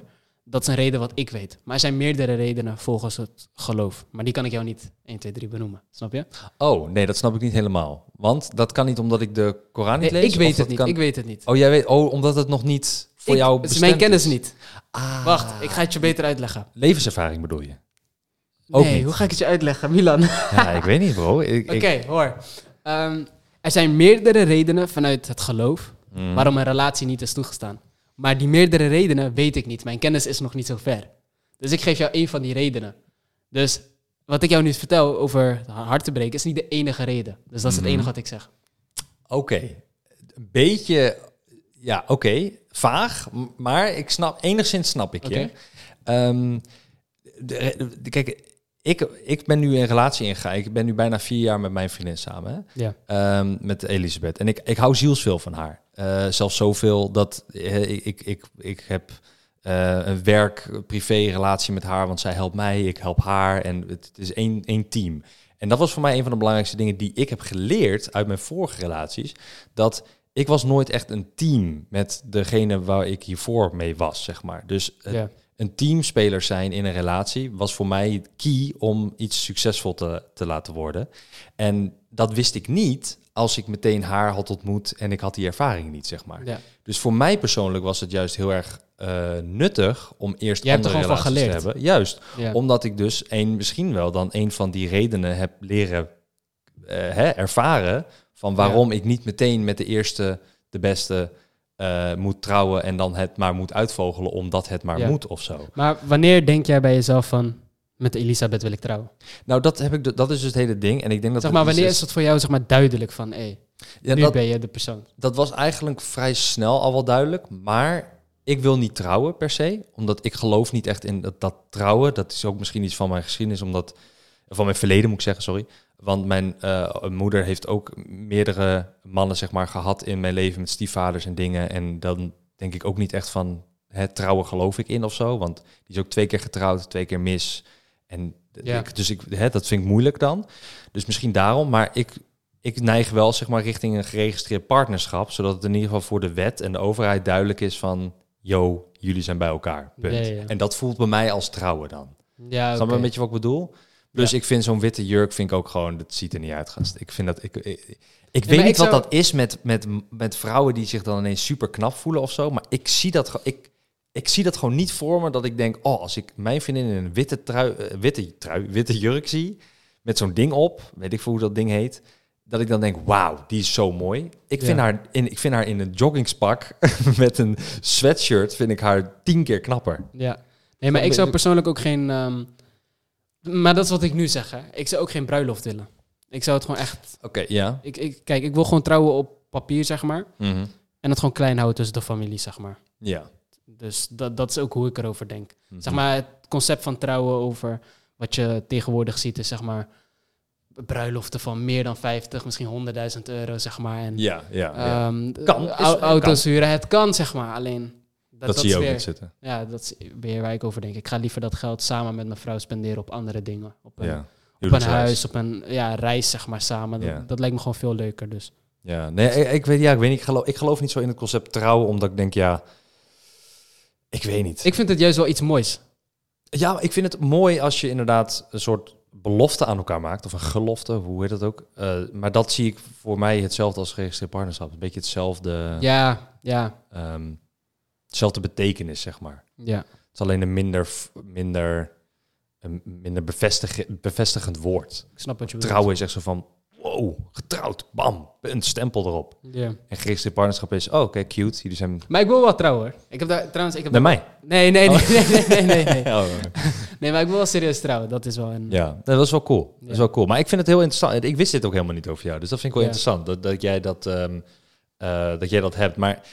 Dat is een reden wat ik weet. Maar er zijn meerdere redenen volgens het geloof. Maar die kan ik jou niet 1, 2, 3 benoemen. Snap je?
oh, nee, dat snap ik niet helemaal. Want dat kan niet omdat ik de Koran niet
Nee,
lees?
ik weet
of
het
dat
niet.
kan-
Ik weet het niet.
Oh, jij weet... Oh, omdat het nog niet voor
Ik-
jou
het is
bestemd
mijn kennis niet.
Ah.
Wacht, ik ga het je beter uitleggen.
Levenservaring bedoel je? Ook
Nee,
niet.
hoe ga ik het je uitleggen, Milan?
Ja, ik weet niet, bro. Ik,
Oké,
ik-
hoor. Ehm, er zijn meerdere redenen vanuit het geloof
Mhm.
waarom een relatie niet is toegestaan. Maar die meerdere redenen weet ik niet. Mijn kennis is nog niet zo ver. Dus ik geef jou één van die redenen. Dus wat ik jou nu vertel over hart te breken is niet de enige reden. Dus dat is het
Mhm.
enige wat ik zeg.
Oké. Een beetje, ja, oké. Vaag, m- maar ik snap, enigszins snap ik je.
Oké.
Ehm, de re- de- kijk, ik, ik ben nu in relatie ingegaan. Ik ben nu bijna vier jaar met mijn vriendin samen. hè.
Ja.
Ehm, met Elisabeth. En ik, ik hou zielsveel van haar. Eh, zelfs zoveel dat eh, ik, ik, ik, ik heb eh, een werk-privé-relatie met haar. Want zij helpt mij, ik help haar. En het, het is één, één team. En dat was voor mij een van de belangrijkste dingen die ik heb geleerd uit mijn vorige relaties. Dat ik was nooit echt een team met degene waar ik hiervoor mee was, zeg maar. Dus eh,
Ja.
een teamspeler zijn in een relatie was voor mij key om iets succesvol te, te laten worden. En dat wist ik niet als ik meteen haar had ontmoet en ik had die ervaring niet, zeg maar.
Ja.
Dus voor mij persoonlijk was het juist heel erg eh, nuttig om eerst
Jij hebt er
andere
gewoon
relaties te
van geleerd.
hebben. Juist,
Ja.
omdat ik dus een, misschien wel dan een van die redenen heb leren eh, hè, ervaren van waarom ik niet meteen met de eerste, de beste eh, moet trouwen en dan het maar moet uitvogelen omdat het maar
Ja.
moet of zo.
Maar wanneer denk jij bij jezelf van met Elisabeth wil ik trouwen?
Nou, dat, heb ik, de- dat is dus het hele ding. En ik denk dat
zeg maar,
het
wanneer
iets
is het voor jou zeg maar, duidelijk van hé,
Ja,
nu
dat,
ben je de persoon?
dat was eigenlijk vrij snel al wel duidelijk. Maar ik wil niet trouwen per se. Omdat ik geloof niet echt in dat, dat trouwen. Dat is ook misschien iets van mijn geschiedenis. Omdat, van mijn verleden moet ik zeggen, sorry. Want mijn eh, moeder heeft ook meerdere mannen zeg maar, gehad in mijn leven met stiefvaders en dingen. En dan denk ik ook niet echt van het trouwen geloof ik in of zo. Want die is ook twee keer getrouwd, twee keer mis. En
Ja.
ik, dus ik, hè, dat vind ik moeilijk dan. Dus misschien daarom. Maar ik, ik neig wel zeg maar richting een geregistreerd partnerschap, zodat het in ieder geval voor de wet en de overheid duidelijk is van, yo, jullie zijn bij elkaar. Punt.
Ja, ja, ja.
En dat voelt bij mij als trouwen dan.
Ja,
Snap je
oké.
een beetje wat ik bedoel? Dus ik vind zo'n witte jurk vind ik ook gewoon, dat ziet er niet uit, gast. Ik vind dat ik. Ik, ik weet
maar
niet
ik
wat
zou-
dat is met, met, met vrouwen die zich dan ineens super knap voelen of zo. Maar ik zie dat gewoon. Ik, ik zie dat gewoon niet voor me dat ik denk, oh, als ik mijn vriendin in een witte trui, eh, witte trui, witte jurk zie, met zo'n ding op, weet ik veel hoe dat ding heet, dat ik dan denk, wauw, die is zo mooi. Ik vind
Ja.
haar in, ik vind haar in een joggingspak met een sweatshirt, vind ik haar tien keer knapper.
Ja. Nee, maar ik zou persoonlijk ook geen... ehm, maar dat is wat ik nu zeg, hè. Ik zou ook geen bruiloft willen. Ik zou het gewoon echt...
Oké, ja.
Ik, ik, kijk, ik wil gewoon trouwen op papier, zeg maar.
Mhm.
En het gewoon klein houden tussen de familie, zeg maar.
Ja.
Dus dat, dat is ook hoe ik erover denk.
Mhm.
Zeg maar het concept van trouwen over wat je tegenwoordig ziet is zeg maar bruiloften van meer dan 50, misschien 100.000 euro zeg maar. En,
Ja, ja. ja.
ehm,
Kan, is-
au-
kan.
auto's huren, het kan zeg maar. Alleen
dat, zie je
is
ook
weer-
niet zitten.
Ja, dat is weer waar ik over denk. Ik ga liever dat geld samen met mijn vrouw spenderen op andere dingen. Op een,
Ja.
op een
Huwelijksreis.
huis, op een ja, reis zeg maar samen. Dat,
Ja.
dat lijkt me gewoon veel leuker dus.
Ja, nee, ik, ik weet, ja, ik weet niet. Ik geloof, ik geloof niet zo in het concept trouwen, omdat ik denk, ja, ik weet niet.
Ik vind het juist wel iets moois.
Ja, maar ik vind het mooi als je inderdaad een soort belofte aan elkaar maakt, of een gelofte, hoe heet dat ook. Eh, maar dat zie ik voor mij hetzelfde als geregistreerd partnerschap. Een beetje hetzelfde,
Ja, ja,
ehm, hetzelfde betekenis, zeg maar.
ja.
Het is alleen een minder, f- minder, een minder bevestig, bevestigend woord.
Ik snap wat je bedoelt.
Trouwen is echt zo van, wow, getrouwd, bam, een stempel erop.
Ja.
En geregistreerd partnerschap is, oh, oké, cute, jullie zijn
Maar ik wil wel trouwen. hoor. Ik heb daar trouwens. Ik heb
bij mij.
Nee, nee,
Oh.
nee, nee, nee, nee, nee, nee.
Ja,
Nee, maar ik wil wel serieus trouwen. Dat is wel een.
ja, dat is wel cool. Dat is
Ja.
wel cool. Maar ik vind het heel interessant. Ik wist dit ook helemaal niet over jou. Dus dat vind ik wel
Ja.
interessant. Dat, dat, jij dat, ehm, eh, dat jij dat hebt. Maar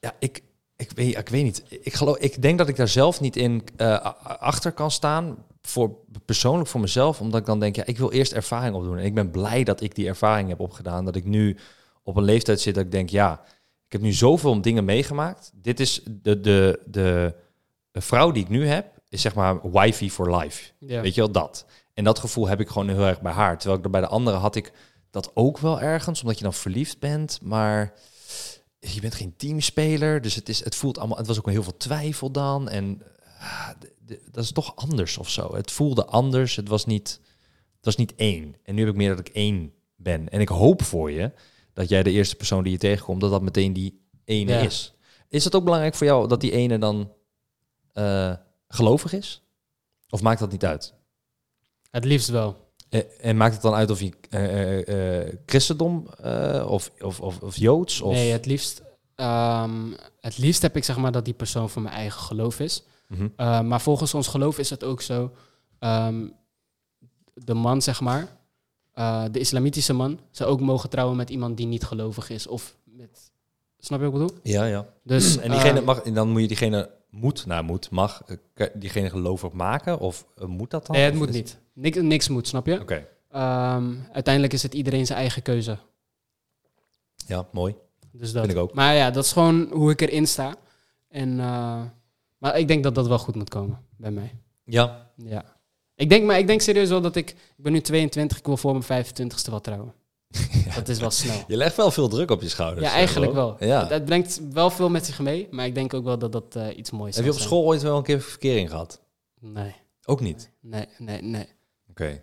ja, ik, ik, weet, ik weet niet. Ik, geloof, ik denk dat ik daar zelf niet in eh, a- achter kan staan. Voor, persoonlijk voor mezelf. Omdat ik dan denk, ja, ik wil eerst ervaring opdoen. En ik ben blij dat ik die ervaring heb opgedaan. Dat ik nu op een leeftijd zit dat ik denk, ja, ik heb nu zoveel dingen meegemaakt. Dit is de, de, de, de vrouw die ik nu heb, is zeg maar wifey for life.
Ja.
Weet je wel, dat. En dat gevoel heb ik gewoon heel erg bij haar. Terwijl ik er bij de andere had ik dat ook wel ergens, omdat je dan verliefd bent, maar je bent geen teamspeler. Dus het, is, het voelt allemaal, het was ook heel veel twijfel dan. En ah, d- d- dat is toch anders of zo. Het voelde anders. Het was niet, het was niet één. En nu heb ik meer dat ik één ben. En ik hoop voor je dat jij de eerste persoon die je tegenkomt, dat dat meteen die ene
Ja.
is. Is dat ook belangrijk voor jou dat die ene dan eh, gelovig is? Of maakt dat niet uit?
Het liefst wel.
Eh, En maakt het dan uit of je eh, eh, eh, christendom eh, of, of, of, of joods? Of...
Nee, het liefst. ehm, het liefst heb ik zeg maar dat die persoon van mijn eigen geloof is.
Mhm.
Uh, maar volgens ons geloof is het ook zo. ehm, de man, zeg maar, eh, de islamitische man, zou ook mogen trouwen met iemand die niet gelovig is. Of met. Snap je wat ik bedoel?
Ja, ja.
Dus,
En diegene
ehm,
mag, en dan moet je diegene moet, nou moet, mag eh, kan diegene gelovig maken? Of eh, moet dat dan?
Nee, het
Of
moet
is-
niet. Niks, niks moet, snap je?
Oké,
Ehm, uiteindelijk is het iedereen zijn eigen keuze.
ja, mooi.
Dus dat.
Vind ik ook.
Maar ja, dat is gewoon hoe ik erin sta. En, eh, maar ik denk dat dat wel goed moet komen bij mij.
Ja,
Ja. Ik denk, maar ik denk serieus wel dat ik... Ik ben nu 22, ik wil voor mijn 25ste wel trouwen. Dat is wel snel.
je legt wel veel druk op je schouders.
Ja,
eh,
eigenlijk
Ro.
wel.
Ja.
Het, het brengt wel veel met zich mee, maar ik denk ook wel dat dat eh, iets moois is.
Heb je op school ooit wel een keer verkering gehad?
Nee,
Ook niet.
nee, nee, nee.
Oké.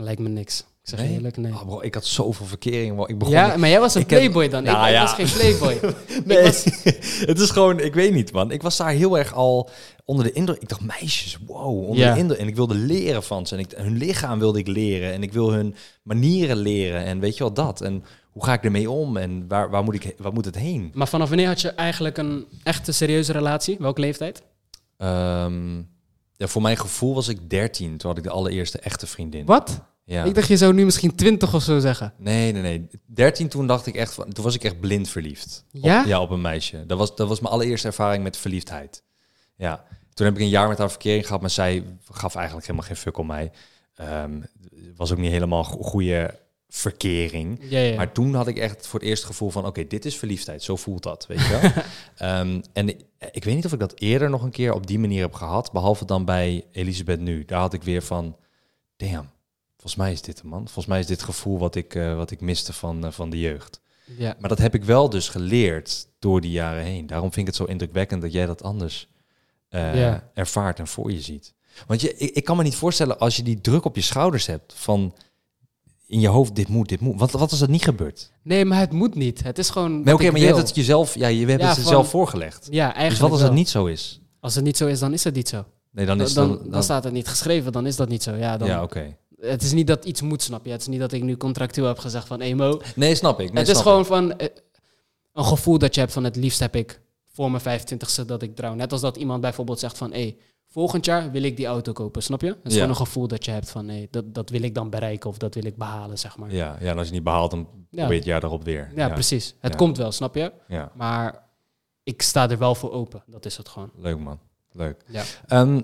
Lijkt me niks. Ik zeg
Nee?
je eerlijk, nee.
Oh, bro, ik had zoveel verkering. man. Ik begon
ja, maar jij was een
ik heb-
playboy dan.
Nou
ik,
ja.
ik was geen playboy.
Nee,
Ik was-
het is gewoon, ik weet niet, man. Ik was daar heel erg al onder de indruk. Ik dacht, meisjes, wow, onder
Ja.
de indruk. En ik wilde leren van ze. En ik, hun lichaam wilde ik leren. En ik wil hun manieren leren. En weet je wel, dat. En hoe ga ik ermee om? En waar, waar, moet, ik, waar moet het heen?
Maar vanaf wanneer had je eigenlijk een echte serieuze relatie? Welke leeftijd?
Ehm, ja, voor mijn gevoel was ik 13. Toen had ik de allereerste echte vriendin.
Wat?
Ja.
Ik dacht, je zou nu misschien 20 of zo zeggen.
Nee, nee, nee. 13 toen dacht ik echt, van, toen was ik echt blind verliefd.
Ja?
Op, Oh, ja, op een meisje. Dat was, dat was mijn allereerste ervaring met verliefdheid. Ja. Toen heb ik een jaar met haar verkering gehad, maar zij gaf eigenlijk helemaal geen fuck om mij. Ehm, was ook niet helemaal go- goede verkering.
Ja, ja.
Maar toen had ik echt voor het eerst het gevoel van... oké, dit is verliefdheid, zo voelt dat, weet je wel. Ehm, en ik, ik weet niet of ik dat eerder nog een keer op die manier heb gehad... behalve dan bij Elisabeth nu. Daar had ik weer van, damn, volgens mij is dit een man. Volgens mij is dit het gevoel wat ik, eh, wat ik miste van, eh, van de jeugd.
ja.
Maar dat heb ik wel dus geleerd door die jaren heen. Daarom vind ik het zo indrukwekkend dat jij dat anders eh,
Ja.
ervaart en voor je ziet. Want je, ik, ik kan me niet voorstellen als je die druk op je schouders hebt van... In je hoofd, dit moet, dit moet. Wat, wat als dat niet gebeurt?
Nee, maar het moet niet. Het is gewoon.
Nee,
wat
oké,
ik
maar je hebt
wil.
het jezelf, ja, je hebt
Ja,
het
van-
zelf voorgelegd.
Ja, eigenlijk.
Dus wat als
wel.
het niet zo is?
Als het niet zo is, dan is het niet zo.
Nee, dan is
dan,
het
dan staat het niet geschreven, dan is dat niet zo. Ja, dan,
ja, oké.
Het is niet dat iets moet, snap je? Het is niet dat ik nu contractueel heb gezegd van, hey Mo.
Nee, snap ik. Nee,
het is
snap
gewoon
ik.
van eh, een gevoel dat je hebt van het liefst heb ik voor mijn 25ste dat ik trouw. Net als dat iemand bijvoorbeeld zegt van, hey, volgend jaar wil ik die auto kopen, snap je? Het
Ja.
is gewoon een gevoel dat je hebt van, hey, dat, dat wil ik dan bereiken of dat wil ik behalen, zeg maar. Ja,
Ja, ja, en als je het niet behaalt, dan probeer je het jaar daarop weer.
precies. Het
Ja.
komt wel, snap je?
Ja.
Maar ik sta er wel voor open. Dat is het gewoon.
Leuk man, leuk.
Ja.
Ehm,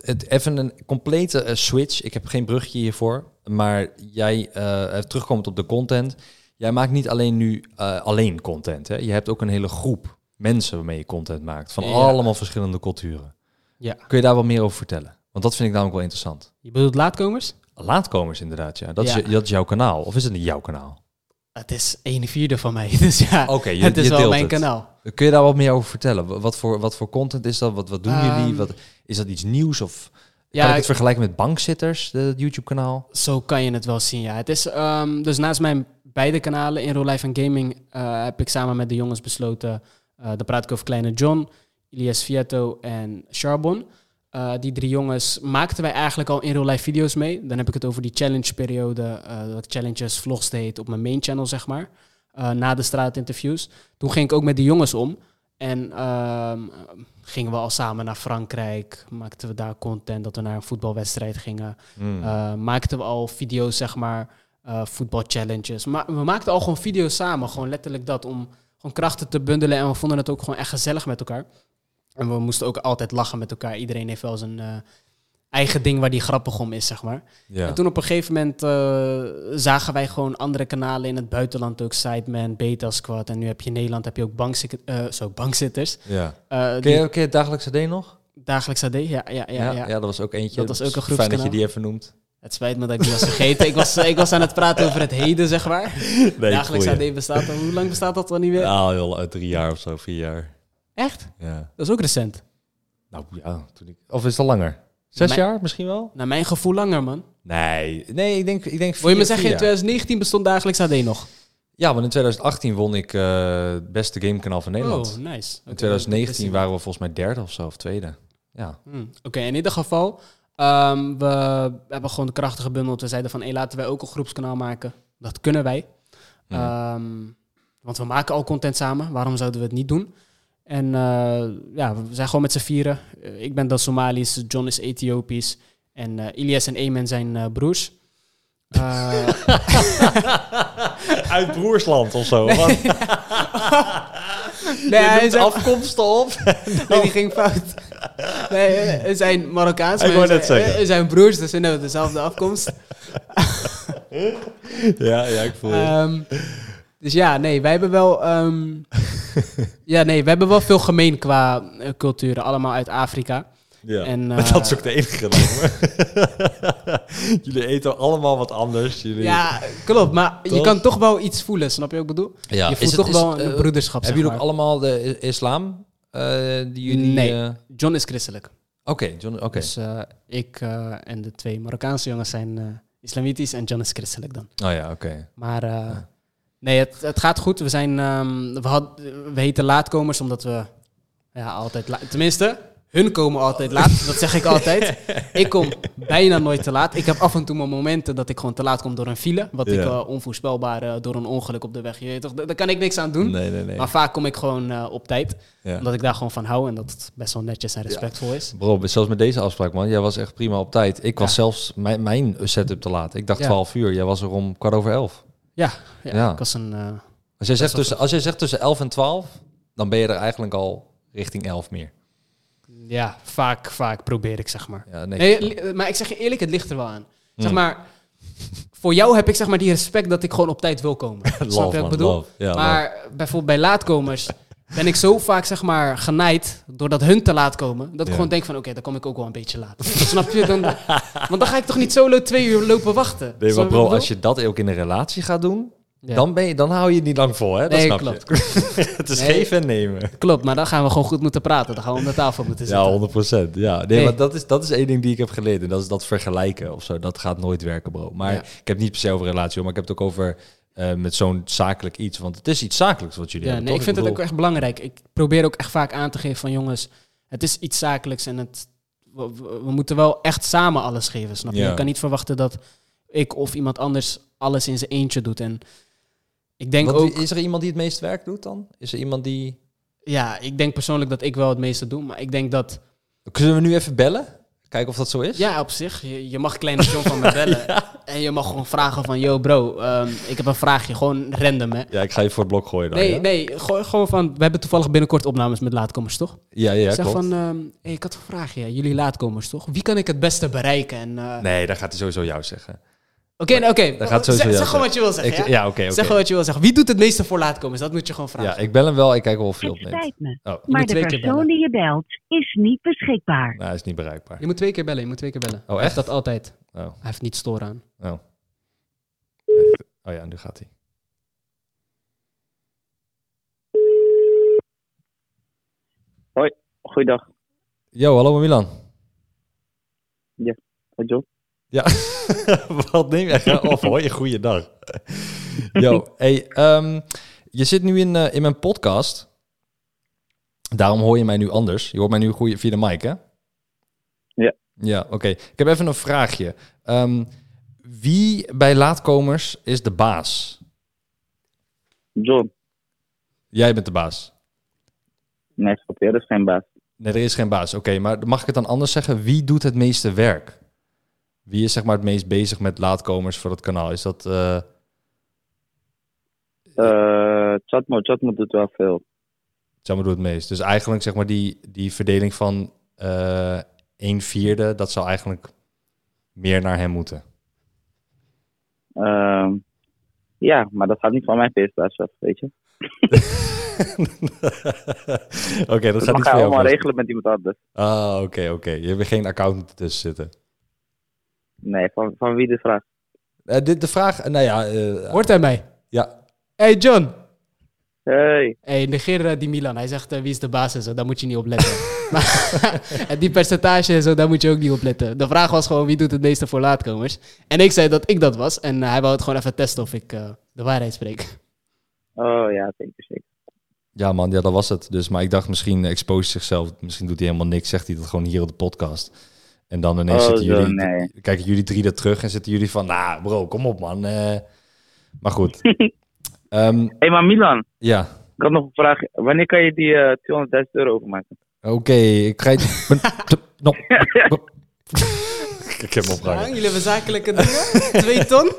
het, even een complete eh, switch. Ik heb geen brugje hiervoor. Maar jij, eh terugkomend op de content. Jij maakt niet alleen nu eh, alleen content. Hè? Je hebt ook een hele groep mensen waarmee je content maakt. Van
Ja.
allemaal verschillende culturen.
Ja.
Kun je daar wat meer over vertellen? Want dat vind ik namelijk wel interessant.
Je bedoelt laatkomers?
Laatkomers inderdaad, ja. Dat,
Ja.
Is, je- dat is jouw kanaal. Of is het niet jouw kanaal?
Het is 1 vierde van mij. Dus ja,
Oké, je-
het is
je
wel
deelt
mijn
het.
kanaal.
Kun je daar wat meer over vertellen? Wa- Wat voor, wat voor content is dat? Wat, wat doen jullie?
Ehm,
Wat, is dat iets nieuws? Of
Ja,
kan ik het
ik-
vergelijken met Bankzitters, de- het YouTube-kanaal?
Zo kan je het wel zien, ja. Het is, ehm, dus naast mijn beide kanalen in Real Life en Gaming eh, heb ik samen met de jongens besloten... eh daar praat ik over Kleine John, Ilias Fiato en Charbon. Eh, die drie jongens maakten wij eigenlijk al in Real Life video's mee. Dan heb ik het over die challenge periode, eh, dat ik challenges, vlogs deed op mijn main channel, zeg maar. Eh, na de straatinterviews. Toen ging ik ook met die jongens om. En ehm, gingen we al samen naar Frankrijk. Maakten we daar content dat we naar een voetbalwedstrijd gingen.
Hmm.
Eh, maakten we al video's, zeg maar, eh, voetbalchallenges. Maar we maakten al gewoon video's samen, gewoon letterlijk dat, om gewoon krachten te bundelen. En we vonden het ook gewoon echt gezellig met elkaar. En we moesten ook altijd lachen met elkaar. Iedereen heeft wel zijn eh, eigen ding waar die grappig om is, zeg maar.
ja.
En toen op een gegeven moment eh, zagen wij gewoon andere kanalen in het buitenland ook. Sideman, Beta Squad. En nu heb je in Nederland heb je ook bankzik- eh, zo, bankzitters.
ja.
Eh,
Ken
die
je, ken je het dagelijks AD nog?
Dagelijks AD, ja, ja, ja, ja.
dat was ook eentje.
Dat was ook een
Fijn dat je
groepskanaal.
die even noemt.
Het spijt me dat ik die was vergeten. ik, was, ik was aan het praten over het heden, zeg maar.
Nee,
Dagelijks AD bestaat al. Hoe lang bestaat dat dan niet meer?
Ja, joh, uit Nou, drie jaar of zo, vier jaar.
Echt?
Ja.
Dat is ook recent.
Nou ja, toen ik... Of is dat langer? Zes
Mijn-
jaar misschien wel?
Naar mijn gevoel langer, man.
Nee, nee ik denk, ik denk
Wil je me
vier-
zeggen,
vier
in
jaar.
2019 bestond dagelijks AD nog?
Ja, want in 2018 won ik eh, het beste gamekanaal van Nederland.
Oh, nice.
in 2019 waren we volgens mij derde of zo, of tweede. Ja.
Hmm. Oké, in ieder geval, ehm, we hebben gewoon de krachten gebundeld. We zeiden van, hé, laten wij ook een groepskanaal maken. Dat kunnen wij.
Hm.
Ehm, want we maken al content samen. Waarom zouden we het niet doen? En eh, ja, we zijn gewoon met z'n vieren. Eh, ik ben dan Somalisch, John is Ethiopisch. En eh Ilias en Emen zijn eh, broers. Eh,
Uit Broersland of zo. Nee,
nee, hij zijn,
afkomsten op.
nee, die ging fout. Nee, eh, ze zijn Marokkaans.
Ik
maar
wou
ze-
net zeggen.
eh, ze zijn broers, dus ze hebben dezelfde afkomst.
ja, ja, ik voel het.
Ehm, dus ja, nee, wij hebben wel. ehm, ja, nee, we hebben wel veel gemeen qua eh, culturen. Allemaal uit Afrika.
Ja.
en,
Maar
eh,
dat is ook de enige reden. hoor. Jullie eten allemaal wat anders. Jullie...
Ja, klopt. Maar je
Toch?
kan toch wel iets voelen, snap je wat ik bedoel?
Ja,
Je
is
voelt
het-
toch
is-
wel een
eh,
broederschap,
Hebben jullie
zeg
ook
maar.
allemaal de i- islam? eh, die jullie,
Nee.
eh, Oké,
John is christelijk.
John, oké.
Dus eh, ik eh, en de twee Marokkaanse jongens zijn eh, islamitisch en John is christelijk dan.
Oh ja, oké.
Maar eh, nee, het, het gaat goed. We zijn, ehm, we, had, we heten laatkomers omdat we ja, altijd laat... Tenminste, hun komen altijd laat. Dat zeg ik altijd. Ik kom bijna nooit te laat. Ik heb af en toe mijn momenten dat ik gewoon te laat kom door een file. Wat ik
Ja.
eh, onvoorspelbaar eh, door een ongeluk op de weg. Je weet toch, daar daar kan ik niks aan doen.
Nee, nee, nee.
Maar vaak kom ik gewoon eh, op tijd.
Ja.
Omdat ik daar gewoon van hou en dat het best wel netjes en respectvol is.
Bro, zelfs met deze afspraak, man. Jij was echt prima op tijd. Ik was
Ja.
zelfs mijn, mijn setup te laat. Ik dacht
Ja.
12 uur. Jij was er om kwart over 11.
Ja, ja,
Ja.
ik was een... eh,
Als jij, zegt
wel
tussen, als jij zegt tussen 11 en 12, dan ben je er eigenlijk al richting 11 meer.
ja, vaak, vaak probeer ik, zeg maar.
Ja, nee. Hmm.
Nee, li- eh, maar ik zeg je eerlijk, het ligt er wel aan. Zeg maar, voor jou heb ik zeg maar die respect dat ik gewoon op tijd wil komen. Snap je
Love,
wat ik
man,
bedoel?
love. Ja,
maar bijvoorbeeld bij laatkomers ben ik zo vaak zeg maar genaaid doordat hun te laat komen, dat ik
Ja.
gewoon denk van oké, dan kom ik ook wel een beetje laat. Snap je? Dan, want dan ga ik toch niet solo twee uur lopen wachten.
Nee,
Snap
maar
je
bro,
wat ik
als je dat ook in een relatie gaat doen,
bedoel? Ja.
dan, ben je, dan hou je het niet lang vol, hè? Dat
Nee,
snap
klopt.
je. het is
Nee.
geven en nemen.
Klopt, maar dan gaan we gewoon goed moeten praten. Dan gaan we om de tafel moeten zitten.
Ja, 100 procent. Ja. Nee,
Nee.
maar dat is, dat is één ding die ik heb geleerd. En dat is dat vergelijken of zo. Dat gaat nooit werken, bro. Maar
Ja.
ik heb het niet per se over relatie, hoor, maar ik heb het ook over eh, met zo'n zakelijk iets. Want het is iets zakelijks wat jullie
Ja,
hebben,
nee, ik
toch?
vind het ook
bedoel-
echt belangrijk. Ik probeer ook echt vaak aan te geven van jongens, het is iets zakelijks en het, we, we- we moeten wel echt samen alles geven, snap je?
Ja.
Je kan niet verwachten dat ik of iemand anders alles in zijn eentje doet. En ik denk
Want
ook,
wie- Is er iemand die het meest werk doet dan? Is er iemand die...
ja, ik denk persoonlijk dat ik wel het meeste doe, maar ik denk dat,
Kunnen we nu even bellen? Kijken of dat zo is.
Ja, op zich. Je, je mag kleine John van me bellen. En je mag gewoon vragen van, yo bro, ehm, ik heb een vraagje. Gewoon random, hè.
Ja, ik ga je voor het blok gooien dan.
Nee,
Oh, ja?
nee, gewoon, gewoon van, we hebben toevallig binnenkort opnames met laatkomers, toch?
ja, ja,
zeg
klopt.
van, ehm, hey, ik had een vraagje, hè, jullie laatkomers, toch? Wie kan ik het beste bereiken? En, eh,
Nee, daar gaat hij sowieso jou zeggen.
Oké, nou, oké.
Dat gaat sowieso
Zeg,
jou
zeg gewoon wat je wil zeggen,
Ik-
ja?
ja, oké, oké.
Zeg gewoon wat je wil zeggen. Wie doet het meeste voor laatkomers? Dat moet je gewoon vragen.
Ja, ik bel hem wel. Ik kijk of hij
Het
opneemt.
spijt me,
Oh,
maar
moet
de
twee keer
persoon
bellen.
die je belt is niet beschikbaar.
nou, hij is niet bereikbaar.
Je moet twee keer bellen, je moet twee keer bellen. Hij
echt?
heeft dat altijd.
Oh,
Hij heeft niet storen aan.
oh. Oh ja, nu gaat hij.
Goeiedag,
Yo, hallo Milan.
hoi John.
Ja, wat neem jij nou af? Hoor je goeiedag. Yo, hey, ehm, je zit nu in, eh, in mijn podcast. Daarom hoor je mij nu anders. Je hoort mij nu goeie, via de mic, hè?
Ja.
Ja, oké. Ik heb even een vraagje. Ehm, wie bij laatkomers is de baas?
John,
Jij bent de baas.
nee, grapje, dat is geen baas.
Nee, er is geen baas. Oké, maar mag ik het dan anders zeggen? Wie doet het meeste werk? Wie is zeg maar het meest bezig met laatkomers voor het kanaal? Is dat... eh,
Eh Chatmo, Chatmo doet wel veel.
zeg maar, doet het meest. Dus eigenlijk zeg maar die, die verdeling van eh 1 vierde, dat zou eigenlijk meer naar hem moeten.
Ehm, ja, maar dat gaat niet van mijn feestbaas af, weet je.
oké, dat
Dat,
gaat niet
mag hij
voor jou.
allemaal
vast.
regelen met iemand anders.
Ah, oké, oké. Je hebt er geen accountant tussen zitten.
Nee, van, van wie de vraag?
Eh, dit, de vraag, eh, nou ja, eh,
Hoort hij mij?
ja.
Hey John!
Hey,
Hey, negeer eh, die Milan. Hij zegt eh, wie is de baas en zo, daar moet je niet op letten. maar, en die percentage en zo, daar moet je ook niet op letten. De vraag was gewoon wie doet het meeste voor laatkomers. En ik zei dat ik dat was. En eh, hij wou het gewoon even testen of ik eh, de waarheid spreek.
oh ja, zeker, zeker.
ja man, ja, dat was het. Dus, maar ik dacht misschien expose zichzelf. Misschien doet hij helemaal niks, zegt hij dat gewoon hier op de podcast. En dan ineens
Oh,
zitten
zo,
jullie,
nee.
kijken jullie drie dat terug en zitten jullie van, nou bro, kom op man. eh. Maar goed. Ehm,
hey, maar Milan,
ja.
ik had nog een vraag. Wanneer kan je die eh 200.000 euro overmaken?
Oké, ik ga je... Ben- tup, nop. ik heb hem opgehangen.
jullie hebben zakelijke dingen? Twee ton?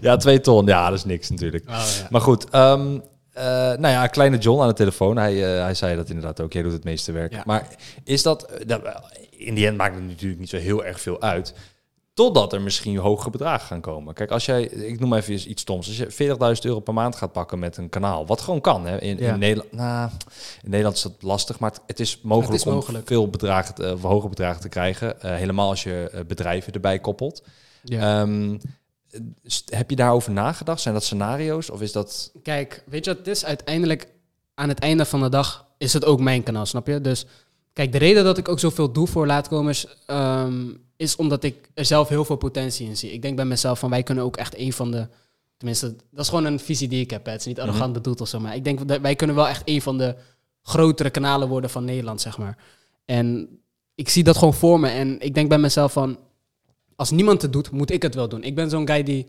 Ja, twee ton. Ja, dat is niks natuurlijk. Maar goed, ehm, eh, nou ja, kleine John aan de telefoon. Hij, eh, hij zei dat inderdaad ook. Jij doet het meeste werk.
Ja.
Maar is dat... eh, dat- In die end maakt het natuurlijk niet zo heel erg veel uit. Totdat er misschien hogere bedragen gaan komen. Kijk, als jij, ik noem even eens iets stoms. Als je 40.000 euro per maand gaat pakken met een kanaal, Oh, wat gewoon kan. Hè? In,
Ja.
in, Nederland, nou, in Nederland is dat lastig, maar het, het is mogelijk,
Het is mogelijk.
om veel bedragen, te- of hoge bedragen te krijgen. eh, helemaal als je eh, bedrijven erbij koppelt. Ehm, st- heb je daarover nagedacht? Zijn dat scenario's of is dat...
Kijk, weet je wat het is? Uiteindelijk, aan het einde van de dag, is het ook mijn kanaal, snap je? Dus kijk, de reden dat ik ook zoveel doe voor laatkomers, ehm, is omdat ik er zelf heel veel potentie in zie. Ik denk bij mezelf van, wij kunnen ook echt een van de... Tenminste, dat is gewoon een visie die ik heb. hè. Het is niet arrogant bedoeld of zo, maar ik denk dat wij kunnen wel echt een van de grotere kanalen worden van Nederland, zeg maar. En ik zie dat gewoon voor me en ik denk bij mezelf van, als niemand het doet, moet ik het wel doen. Ik ben zo'n guy die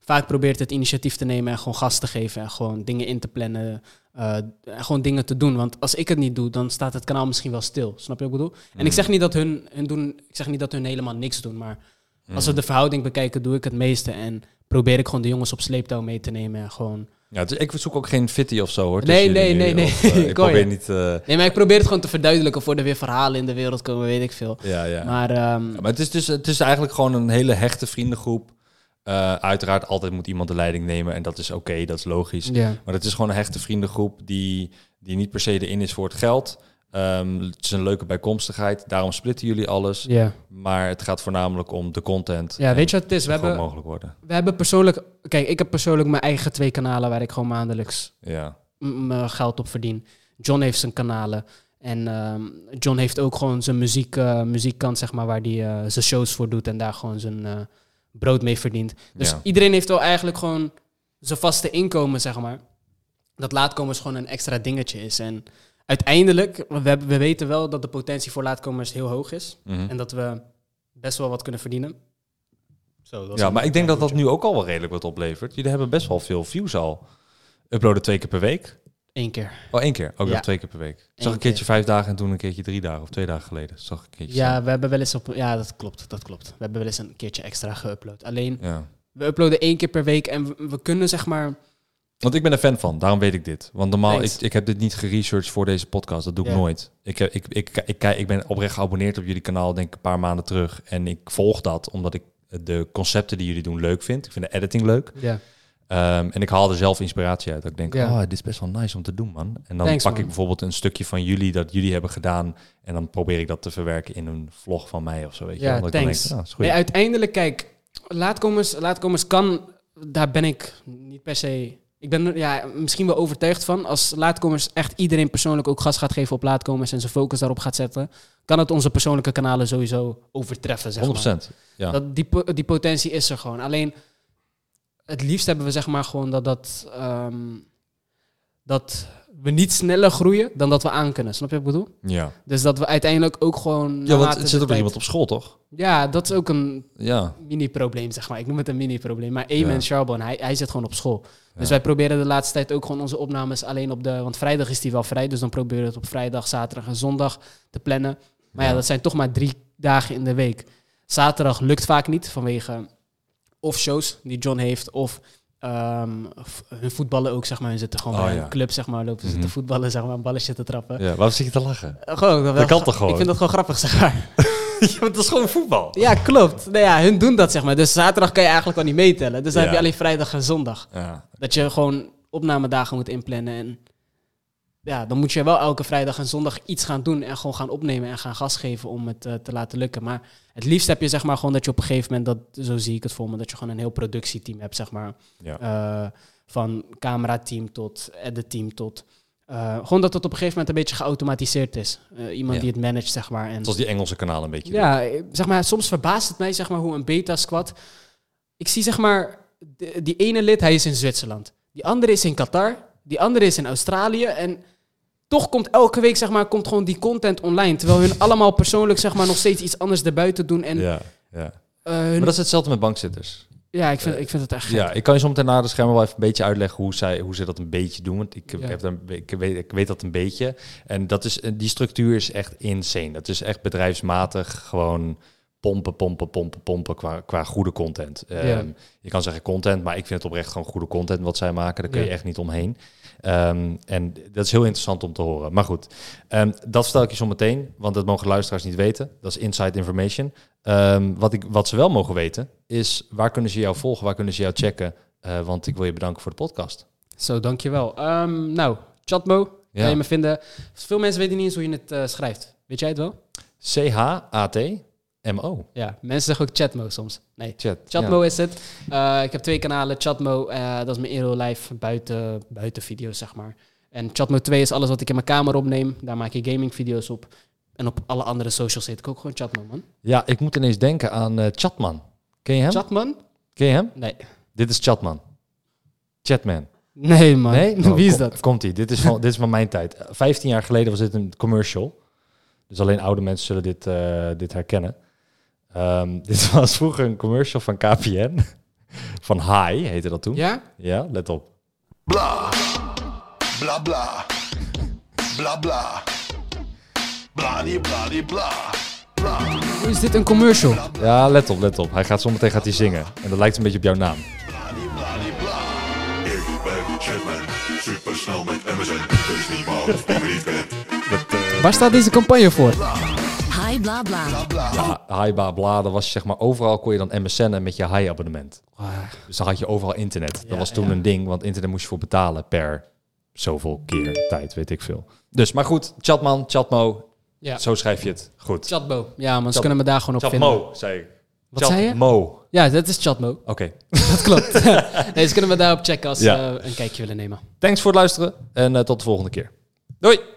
vaak probeert het initiatief te nemen en gewoon gas te geven en gewoon dingen in te plannen. eh, en gewoon dingen te doen. Want als ik het niet doe, dan staat het kanaal misschien wel stil. Snap je wat ik bedoel?
Mm.
En ik zeg niet dat hun, hun doen, ik zeg niet dat hun helemaal niks doen. Maar als we
Mm.
de verhouding bekijken, doe ik het meeste. En probeer ik gewoon de jongens op sleeptouw mee te nemen. En gewoon.
Ja, dus ik zoek ook geen fitty of zo hoor.
Nee,
tussen
nee,
jullie
nee,
nu,
nee.
of, eh, ik
Ik hoor je.
probeer niet... eh,
Nee, maar ik probeer het gewoon te verduidelijken voor er weer verhalen in de wereld komen, weet ik veel.
ja, ja.
Maar ehm,
Ja, Maar het is dus het is eigenlijk gewoon een hele hechte vriendengroep. Eh, uiteraard, altijd moet iemand de leiding nemen en dat is oké, dat is logisch.
ja.
Maar het is gewoon een hechte vriendengroep die, die niet per se erin is voor het geld. Ehm, het is een leuke bijkomstigheid, daarom splitten jullie alles.
Ja.
Maar het gaat voornamelijk om de content.
ja,
en
weet je wat het is? We
zo goed
hebben,
mogelijk worden.
we hebben persoonlijk. Kijk, ik heb persoonlijk mijn eigen twee kanalen waar ik gewoon maandelijks
Ja,
m- mijn geld op verdien. John heeft zijn kanalen. En ehm, John heeft ook gewoon zijn muziek, eh, muziekkant, zeg maar, waar hij eh, zijn shows voor doet en daar gewoon zijn eh, brood mee verdient. Dus
Ja.
iedereen heeft wel eigenlijk gewoon zijn vaste inkomen, zeg maar. Dat laatkomers gewoon een extra dingetje is. En uiteindelijk, we, hebben- we weten wel dat de potentie voor laatkomers heel hoog is.
Mhm.
En dat we best wel wat kunnen verdienen. Zo, dat was
ja
een-
maar ik denk dat dat nu ook al wel redelijk wat oplevert. Jullie hebben best wel veel views al. Uploaden twee keer per week.
Eén keer.
Oh, één keer. Ook
Ja.
nog twee keer per week. Ik
Eén
zag een keertje
keer.
vijf dagen en toen een keertje drie dagen of twee dagen geleden. Zag ik een keertje.
Ja, we hebben wel eens op. Ja, dat klopt. Dat klopt. We hebben wel eens een keertje extra geüpload. Alleen,
staan. Ja.
we uploaden één keer per week en we, we kunnen zeg maar.
Want ik ben er fan van, daarom weet ik dit. Want normaal, ik,
Thanks.
ik heb dit niet geresearched voor deze podcast. Dat doe ik
Ja.
nooit. Ik, heb- ik, ik, ik, kijk- ik ben oprecht geabonneerd op jullie kanaal, denk ik, een paar maanden terug. En ik volg dat omdat ik de concepten die jullie doen leuk vind. Ik vind de editing leuk.
Ja.
Ehm, en ik haal er zelf inspiratie uit. Dat ik denk,
Ja.
oh, dit is best wel nice om te doen, man. En dan
Thanks,
pak
man.
ik bijvoorbeeld een stukje van jullie dat jullie hebben gedaan. En dan probeer ik dat te verwerken in een vlog van mij of zo. Weet je?
Ja,
Omdat
thanks.
Ik dan denk, ah, is goed.
Nee, uiteindelijk, kijk, laatkomers, laatkomers kan, daar ben ik niet per se. Ik ben er ja, misschien wel overtuigd van. Als laatkomers echt iedereen persoonlijk ook gas gaat geven op laatkomers en zijn focus daarop gaat zetten, kan het onze persoonlijke kanalen sowieso overtreffen. Zeg maar.
100%. Ja.
Dat, die, po- die potentie is er gewoon. Alleen het liefst hebben we zeg maar gewoon dat, dat, ehm, dat we niet sneller groeien dan dat we aan kunnen. Snap je wat ik bedoel?
ja.
Dus dat we uiteindelijk ook gewoon.
ja, want
naarmate
het
de
zit ook nog
tijd-
iemand op school, toch?
Ja, dat is ook een
Ja.
mini-probleem, zeg maar. Ik noem het een mini-probleem. Maar
Ja.
Eamon Charbon, hij, hij zit gewoon op school. Dus
Ja.
wij proberen de laatste tijd ook gewoon onze opnames alleen op de... Want vrijdag is die wel vrij, dus dan proberen we het op vrijdag, zaterdag en zondag te plannen. Maar ja,
Ja.
dat zijn toch maar drie dagen in de week. Zaterdag lukt vaak niet vanwege of shows die John heeft of... ehm, v- hun voetballen ook, zeg maar. Hun zitten gewoon
Oh,
bij
ja.
een club, zeg maar. Lopen ze te
Mhm.
voetballen, zeg maar. Een balletje te trappen.
ja. Waarom zit je te lachen?
Eh, Gewoon, wel
kan
gra-
toch gewoon?
Ik vind dat gewoon grappig, zeg maar.
ja, maar het is gewoon voetbal.
Ja, klopt. Nou ja, hun doen dat zeg maar. Dus zaterdag kan je eigenlijk al niet meetellen. Dus dan
Ja.
heb je alleen vrijdag en zondag.
Ja.
Dat je gewoon opnamedagen moet inplannen. En ja, dan moet je wel elke vrijdag en zondag iets gaan doen. En gewoon gaan opnemen en gaan gas geven om het eh, te laten lukken. Maar het liefst heb je zeg maar gewoon dat je op een gegeven moment, dat, zo zie ik het voor me, dat je gewoon een heel productieteam hebt zeg maar.
Ja.
Eh, van camerateam tot editteam tot... eh, gewoon dat het op een gegeven moment een beetje geautomatiseerd is. Eh, iemand
Ja.
die het managt zeg maar. En
Zoals die Engelse kanalen een beetje. doen.
ja, eh, zeg maar, soms verbaast het mij zeg maar, hoe een beta-squad... Ik zie zeg maar, de- die ene lid, hij is in Zwitserland. Die andere is in Qatar. Die andere is in Australië. En toch komt elke week zeg maar, komt gewoon die content online. Terwijl hun allemaal persoonlijk zeg maar, nog steeds iets anders erbuiten doen. En,
Ja. ja.
eh, hun-
Maar dat is hetzelfde met bankzitters.
ja, ik vind, ik vind het echt gek.
Ja, ik kan je zometeen na de schermen wel even een beetje uitleggen hoe, zij, hoe ze dat een beetje doen. Want ik,
Ja.
heb dan, ik, weet, ik weet dat een beetje. En dat is, die structuur is echt insane. Dat is echt bedrijfsmatig gewoon pompen, pompen, pompen, pompen qua, qua goede content.
Ja.
Ehm, je kan zeggen content, maar ik vind het oprecht gewoon goede content wat zij maken. Daar kun je
Ja.
echt niet omheen. Ehm, en dat is heel interessant om te horen. Maar goed, ehm, dat vertel ik je zo meteen, want dat mogen luisteraars niet weten. Dat is inside information. Ehm, wat, ik, wat ze wel mogen weten is waar kunnen ze jou volgen, waar kunnen ze jou checken. Eh, want ik wil je bedanken voor de podcast.
Zo, dankjewel. Ehm nou, Chatmo,
Ja.
kan je me vinden. Veel mensen weten niet eens hoe je het eh, schrijft. Weet jij het wel?
C-H-A-T-M-O.
Ja, mensen zeggen ook Chatmo soms. Nee,
Chat.
Chatmo is het. Eh, ik heb twee kanalen. Chatmo, eh, dat is mijn Aero Live buiten, buiten video's, zeg maar. En Chatmo 2 is alles wat ik in mijn kamer opneem. Daar maak ik gaming video's op. En op alle andere socials zit ik ook gewoon Chatmo, man.
Ja. ja, ik moet ineens denken aan eh, Chatman. Ken je hem?
Chatman?
Ken je hem?
Nee.
Dit is Chatman. Chatman.
Nee, man.
Nee? Oh,
Wie is
kom-
dat?
Komt ie. Dit is van, dit is van mijn tijd. Eh, 15 jaar geleden was dit een commercial. Dus alleen oude mensen zullen dit, eh, dit herkennen. Ehm, dit was vroeger een commercial van KPN. Van Hi heette dat toen.
Ja?
ja let op.
Blah. Blah blah. Blah blah. Blah blah blah. Blah.
Hoe is dit een commercial?
Ja, let op, let op. Hij gaat zometeen gaat hij zingen. En dat lijkt een beetje op jouw naam.
Ik ben Chapman, supersnel met MSN. Dus niet maar of ik niet ben.
Waar staat deze campagne voor?
Hi bla bla.
Ja, hi, ba, bla, dat was zeg maar overal kon je dan MSN'en met je hi-abonnement.
Ah.
Dus dan had je overal internet. dat was toen een ding, want internet moest je voor betalen per zoveel keer tijd, weet ik veel. Dus, maar goed, Chatman, Chatmo,
Ja.
zo schrijf je het. Goed.
Chatmo. Ja, man, ze kunnen me daar gewoon op vinden.
Chatmo, zei ik.
Wat zei je?
Chatmo. Oké.
Ja, dat is Chatmo. Dat klopt. nee, ze kunnen me daarop checken als ze
Oh. Ja.
eh, een kijkje willen nemen.
Thanks voor het luisteren en eh, tot de volgende keer. Doei!